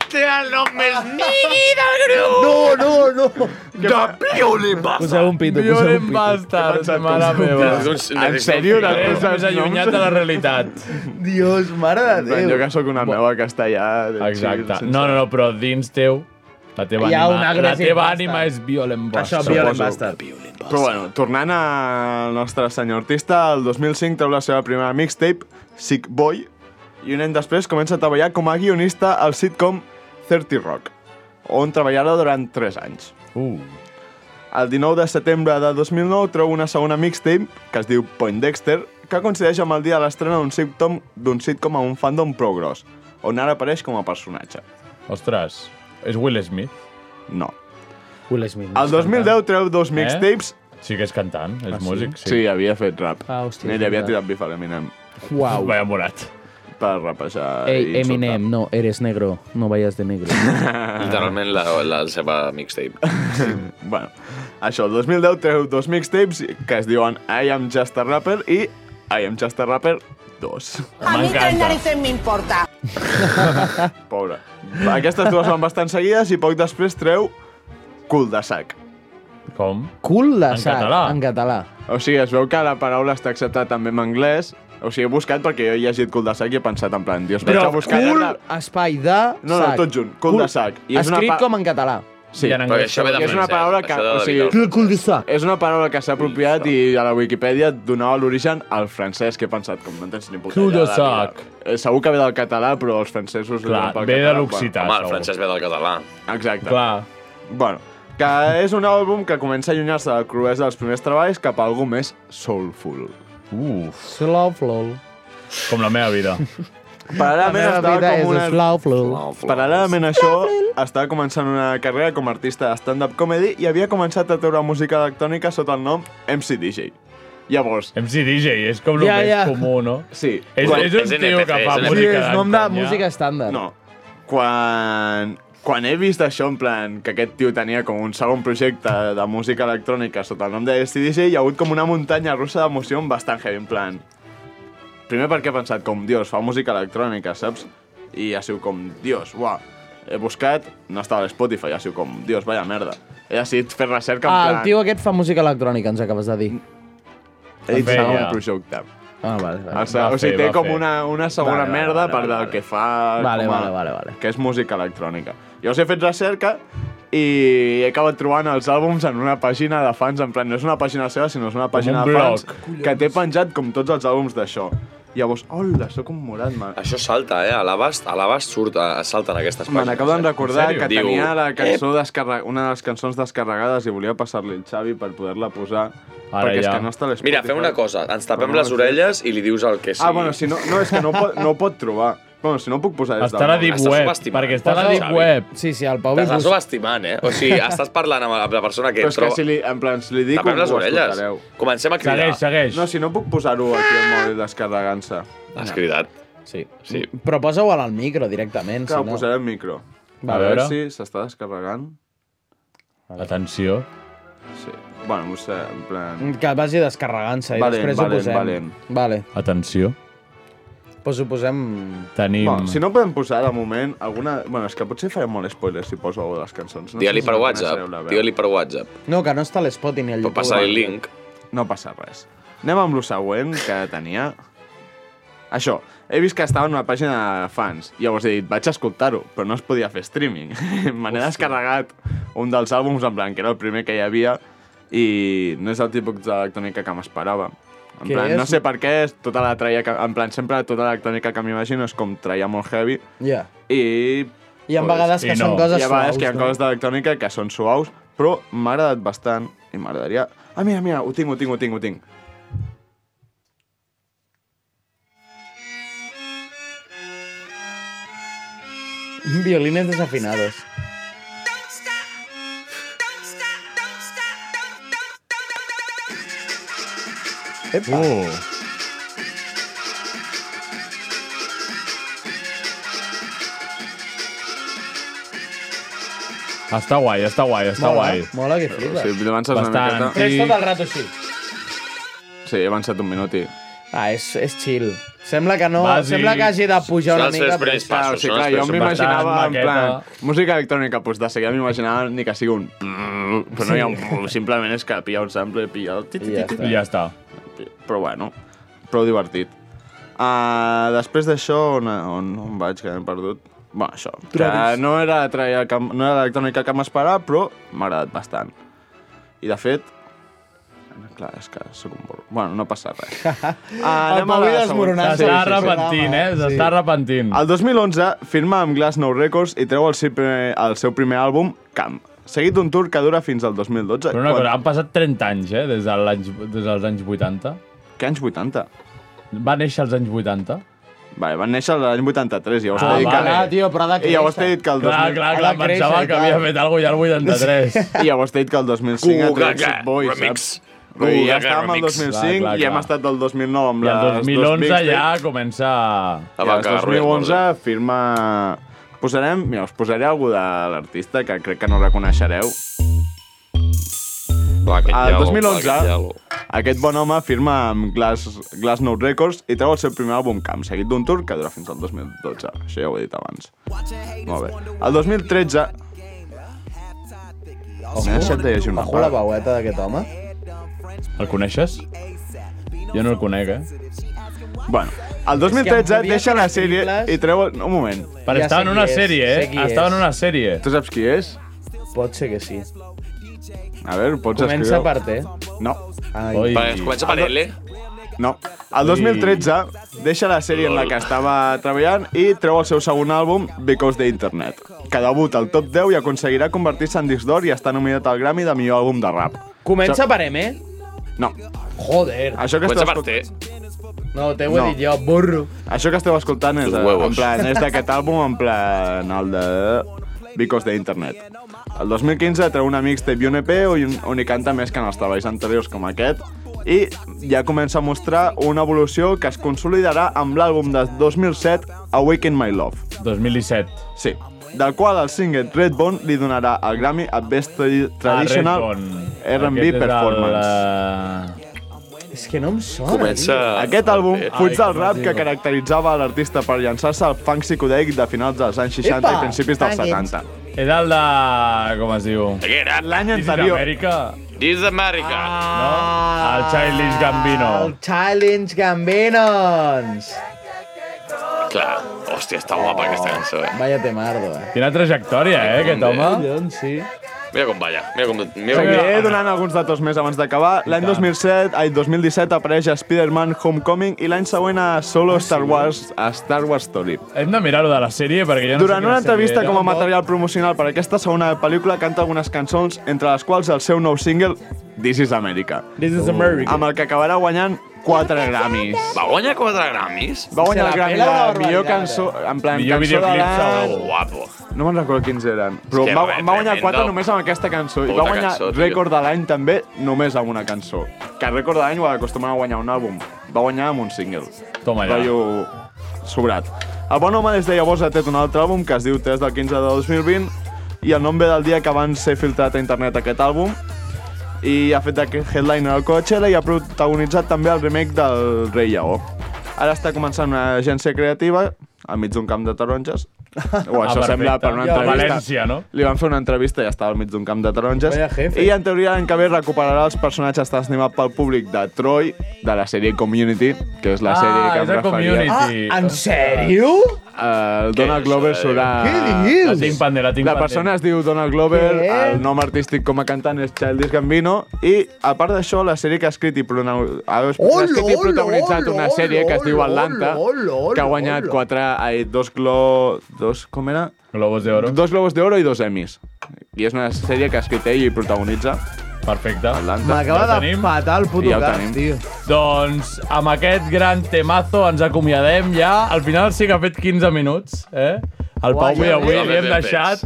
Té el nom més nigui del grup!
No, no, no!
De Pioli Basta!
un pito,
poseu un pito. Bastard, mare meva.
En sèrio, les
Res
teus
més allunyat
noms?
de la realitat.
Dios, mare de
Déu. Jo
Déu.
que sóc una meva que està allà... de
Exacte.
chill, sense-
No, no, no, però dins teu, la teva
Hi ha
ànima,
una
la
gràcia
teva
bastard.
ànima és Violent Bastard.
Això, Violent
Suposo.
Bastard.
Però bueno, tornant al nostre senyor artista, el 2005 treu la seva primera mixtape, Sick Boy, i un any després comença a treballar com a guionista al sitcom 30 Rock, on treballarà durant 3 anys.
Uh.
El 19 de setembre de 2009 treu una segona mixtape, que es diu Point Dexter, que coincideix amb el dia de l'estrena d'un sitcom, d'un sitcom amb un fandom prou gros, on ara apareix com a personatge.
Ostres, és Will Smith? eh?
No.
Will Smith.
El 2010 treu dos mixtapes.
Eh? Sí que és cantant, és
Ah, sí?
músic, sí.
Sí, havia fet rap.
Ah, hòstia,
Ell
és
havia
veritat.
tirat bif a l'Eminem.
Uau.
Vaya morat.
Per rapejar
Ei,
i insultar.
Eminem, no, eres negro. No vayas de negro.
Literalment la, la seva mixtape.
bueno, això, el 2010 treu dos mixtapes que es diuen I am just a rapper i I am just a rapper 2.
A mí tres narices me importa.
Pobre. Aquestes dues van bastant seguides i poc després treu cul de sac.
Com?
Cul de
En
sac.
català.
En català.
O sigui, es veu que la paraula està acceptada també en anglès. O sigui, he buscat perquè jo he llegit cul de sac i he pensat en plan, dios, vaig
Però
a buscar...
cul,
la-
espai de
No, no,
sac.
tot junt, cul de sac. I és una
Escrit
pa-
com en català.
Sí,
I en anglès. Perquè
això ve de
perquè és una
francès,
paraula que...
això de
O
la
sigui,
El cul de sac.
és una paraula que s'ha apropiat i a la Wikipedia et donava l'origen al francès, que he pensat, com no en tens ni puta
Cul de
idea,
sac.
mira. Eh, Segur que ve del català, però els francesos... li
Clar,
donen pel
ve de
català,
l'occità,
però-
Home, el francès ve del català.
Exacte.
Clar.
Bueno, que és un àlbum que comença a allunyar-se de la cruesa dels primers treballs cap a algú més soulful.
Uf,
Slow flow.
com la meva vida.
Paral·lelament
La meva
estava
vida és
com una...
slow flow.
Paral·lelament a això, estava començant una carrera com a artista de stand-up comedy i havia començat a treure música electrònica sota el nom MC DJ. Llavors,
MC DJ, és com el
Ja,
més
ja.
comú, no?
sí,
És,
quan-
és un
és
tio
NPC,
que fa
és
Sí,
música
és nom de
d'antany, ja.
música estàndard.
No. Quan, quan he vist això, en plan, que aquest tio tenia com un segon projecte de música electrònica sota el nom de STDJ, hi ha hagut com una muntanya russa d'emoció bastant heavy, en plan... Primer perquè he pensat com, dios, fa música electrònica, saps? I ha sigut com, dios, uah, he buscat, no estava a Spotify, ha sigut com, dios, vaya merda. He decidit fer recerca, en
Ah,
plan...
el tio aquest fa música electrònica, ens acabes de dir.
He dit
Feia.
segon projecte.
Ah, vale,
O
vale.
sigui,
Va
o sigui
fer,
té
va
com
fer.
una, una segona
Vale, vale,
merda
vale,
per
vale,
del que fa...
Vale,
com a-
vale, vale, vale.
que és música electrònica. Jo us he fet recerca i he acabat trobant els àlbums en una pàgina de fans, en plan, no és una pàgina seva, sinó és una pàgina
un
de fans
blog.
que té penjat com tots els àlbums d'això. Llavors, hola, sóc un morat, man.
Això salta, eh? A l'abast, a l'abast surt, a, salten aquestes
Me
pàgines. eh?
n'acabo de recordar que
Diu,
tenia la cançó descarre... una de les cançons descarregades i volia passar-li el Xavi per poder-la posar,
Ara
perquè és
ja.
que no està a l'Spotify.
Mira, fem una cosa, ens
Però
tapem
no
les
l'he fet.
orelles i li dius el que sí.
Ah, bueno, si no, no, és que no ho pot, no ho pot trobar. Bueno, si no puc posar des
Està a la Deep
Estàs
Web,
subestimant.
perquè està a la
Posa-ho,
Deep
Xavi.
Web.
Sí, sí, el Pau
T'estàs subestimant, eh? O sigui, estàs parlant amb la- amb la persona que
Però és que
troba...
si li, en plan, si li dic...
Tapem les
ho
orelles.
escoltareu.
Comencem a cridar. Segueix, segueix.
No, si no puc posar-ho aquí al mòbil descarregant-se.
Has cridat.
Sí. mm,
sí.
Però posa-ho al micro directament,
Clar,
si
ho
no.
posaré al micro.
Va,
a veure
veure.
si s'està descarregant.
Atenció.
Sí. Bueno, no sé, en plan...
Mm, Que vagi descarregant-se i
Valent,
després
valent,
ho posem.
valent.
Vale.
Atenció.
Pues ho posem...
Tenim...
Bueno, si no podem posar, de moment, alguna... Bueno, és que potser farem molt spoiler si poso alguna de les cançons. No
Digue-li
sé si
per
la
WhatsApp.
coneixereu, la veu.
Digue-li per WhatsApp.
No, que no està a l'Spot ni al YouTube.
Passa el link.
No passa res. Anem amb lo següent que tenia. Això, he vist que estava en una pàgina de fans. Llavors he dit, vaig a escoltar-ho, però no es podia fer streaming. Me n'he descarregat un dels àlbums en blanc, que era el primer que hi havia, i no és el tipus d'electrònica que m'esperava. En
Què
plan,
és?
no sé per què, és tota la traia que... En plan, sempre tota l'electrònica que m'imagino és com traia molt heavy,
Ja.
i...
Hi ha vegades que I no. són coses
Hi ha vegades que hi ha
suaus, no?
coses d'electrònica que són suaus, però m'ha agradat bastant i m'agradaria... Ah, mira, mira, ho tinc, ho tinc, ho tinc, ho tinc.
Violines desafinados. Epa.
Uh. Està guai, està guai, està
Mola,
guai.
Ah, mola que flipes.
Sí, avances una
Bastant,
miqueta.
Tres tot el rato així.
Sí, he avançat un minut i...
Ah, és, és chill. Sembla que no...
Bàsic.
Sembla que hagi de pujar una
Són els
mica.
tres primers passos, són els primers m'imaginava, en plan, música electrònica, doncs de seguida m'imaginava ni que sigui un... Però no hi ha un... Simplement és que pilla un sample, pilla el... tit,
I ja
tit,
està.
tit.
I ja
Però bueno, prou divertit. Uh, després d'això, on, on, on vaig, que m'he perdut? Bueno, això, que
Travis.
no era la traia que, no era l'electrònica que m'esperava, però m'ha agradat bastant. I de fet, clar, és que sóc un burro. Bueno, no passa res. Ah,
El Pau i desmoronant.
S'està arrepentint, eh? S'està arrepentint.
El 2011 firma amb Glass No Records i treu el seu primer, el seu primer àlbum, Camp, seguit d'un tour que dura fins al 2012.
Però una
quan-
cosa, han passat 30 anys, eh? Des, de l'any- des dels anys 80.
Que anys 80?
Va néixer als anys 80.
Vale, van néixer l'any 83, llavors
Ah,
t'he dit que...
vale. Ah, tio,
però
ha de
I llavors
créixer.
t'he dit que el 2000...
Clar, clar, clar, Ha de pensava créixer, que clar. havia fet alguna cosa ja al 83.
I llavors t'he dit que el 2005 ha tret
Cugaca,
Sick Boy,
remix.
saps? Vull dir,
Cugaca,
ja estàvem al
remix.
2005
Clar, clar,
i hem
clar.
estat del 2009 amb
I
les
el
dos
2011 ja
mixtapes.
comença...
I el 2011 firma... Posarem... Mira, us posaré algú de l'artista que crec que no reconeixereu. El 2011, aquest bon home firma amb Glass, Glass Note Records i treu el seu primer àlbum Camp, seguit d'un tour que dura fins al 2012. Això ja ho he dit abans. Molt bé. El 2013...
Ojo.
M'he deixat de llegir una
Ojo la
part.
veueta d'aquest home.
El coneixes? Jo no el conec, eh?
Bueno, el 2013 deixa la sèrie i treu... el- Un moment.
Però Ja estava sé en una qui és, sèrie, eh? sé qui Estava és. en una sèrie.
Tu saps qui és?
Pot ser que sí.
A veure, pots
Comença
escriure-ho.
per T.
No.
Ai. Oi. Vale, comença per L.
No. El 2013 deixa la sèrie en la que estava treballant i treu el seu segon àlbum, Because the Internet, que debuta al top 10 i aconseguirà convertir-se en disc d'or i està nominat al Grammy de millor àlbum de rap.
Comença
Això-
per M?
No.
Joder.
Això que esteu escoltant...
No, T ho he
No.
dit jo, burro.
Això que esteu escoltant és,
Tus
eh,
huevos.
en plan, és d'aquest àlbum, en plan el de Because the Internet. El 2015 treu una mixtape i un EP on, on hi canta més que en els treballs anteriors com aquest i ja comença a mostrar una evolució que es consolidarà amb l'àlbum de 2007 Awaken My Love.
2017.
Sí, del qual el single Redbone li donarà el Grammy a Best Tradi- Traditional R&B Performance.
És que no em sona.
Comença... Aquest àlbum fuig del rap que caracteritzava a l'artista per llançar-se al funk psicodèlic de finals dels anys 60
Epa!
i principis dels
Funk
70.
Era el de... com es diu?
L'any
This is
anterior...
America.
This is America.
Ah.
Ah.
No? El Childish Gambino.
El Challenge Gambinons.
Clar, hòstia, està guapa aquesta cançó, eh?
Vaya temardo, eh.
Quina trajectòria, eh, aquest home?
Collons, sí.
Mira com balla. Mira com... Mira com...
Seguiré donant alguns datos més abans d'acabar. L'any 2007, ai, 2017 apareix a Spider-Man Homecoming i l'any següent a Solo Star Wars, a Star Wars Story.
Hem de mirar-ho de la sèrie, perquè jo no
Durant
sé
una entrevista com a material promocional per aquesta segona pel·lícula canta algunes cançons, entre les quals el seu nou single This is America.
This is America.
Amb el que acabarà guanyant 4 Grammys.
Va guanyar 4 Grammys?
Va guanyar el Grammy de millor cançó, en plan,
Millor
cançó de
videoclip
l'any.
segur. Guapo.
No me'n recordo quins eren, però
És que
va,
re-
va guanyar
tremendo.
4 només amb aquesta cançó. I
Puta
va guanyar
cançó, tio.
rècord de l'any també només amb una cançó. Que el rècord de l'any ho acostumen a guanyar un àlbum. Va guanyar amb un single.
Toma ja.
Rotllo sobrat. El bon home des de llavors ha tret un altre àlbum que es diu 3 del 15 de 2020 i el nom ve del dia que van ser filtrat a internet aquest àlbum i ha fet aquest headliner al Coachella i ha protagonitzat també el remake del Rei Lleó. Ara està començant una agència creativa al mig d'un camp de taronges. O
Ah,
això
perfecte.
sembla per una
I a
entrevista.
València, no?
Li van fer una entrevista i estava al mig d'un camp de taronges.
Vaya jefe.
I en teoria l'any que ve recuperarà els personatges transformats pel públic de Troy, de la sèrie Community, que és la
Ah,
sèrie
és
que em
de
referia. Eh,
Community. Ah, en sèrio?
El Donald Glover serà...
Què dius? Eh? La tinc
pendent, la tinc
La
pendent.
persona es diu Donald Glover,
Què?
el nom artístic com a cantant és Childish Gambino, i a part d'això, la sèrie que ha escrit i, pronau- ha escrit i protagonitzat una sèrie que es diu Atlanta, que ha guanyat quatre, ai, dos glo... Dos, com era?
Globos d'Oro.
Dos Globos d'Oro i dos Emmys. I és una sèrie que ha escrit ell i protagonitza.
Perfecte.
Atlanta.
M'acaba de patar el puto
I ja ho
cap,
tenim.
tio.
Doncs amb aquest gran temazo ens acomiadem ja. Al final sí que ha fet 15 minuts, eh? El
Guai,
Pau i
eh?
avui li hem
Ben fets.
deixat.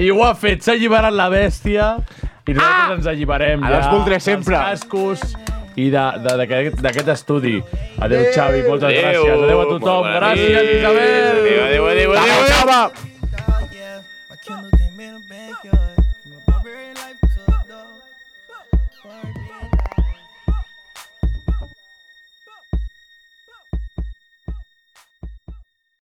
I ho ha fet, s'ha alliberat la bèstia i nosaltres ens alliberem ja.
Ara els voldré
sempre. Dels cascos i de- de- d'aquest d'aquest estudi. Adéu, Xavi, moltes
Adéu.
gràcies. Adéu a
Molt
tothom.
bona
Gràcies,
nit.
Isabel.
Adéu, adéu, adéu, adéu.
Xava.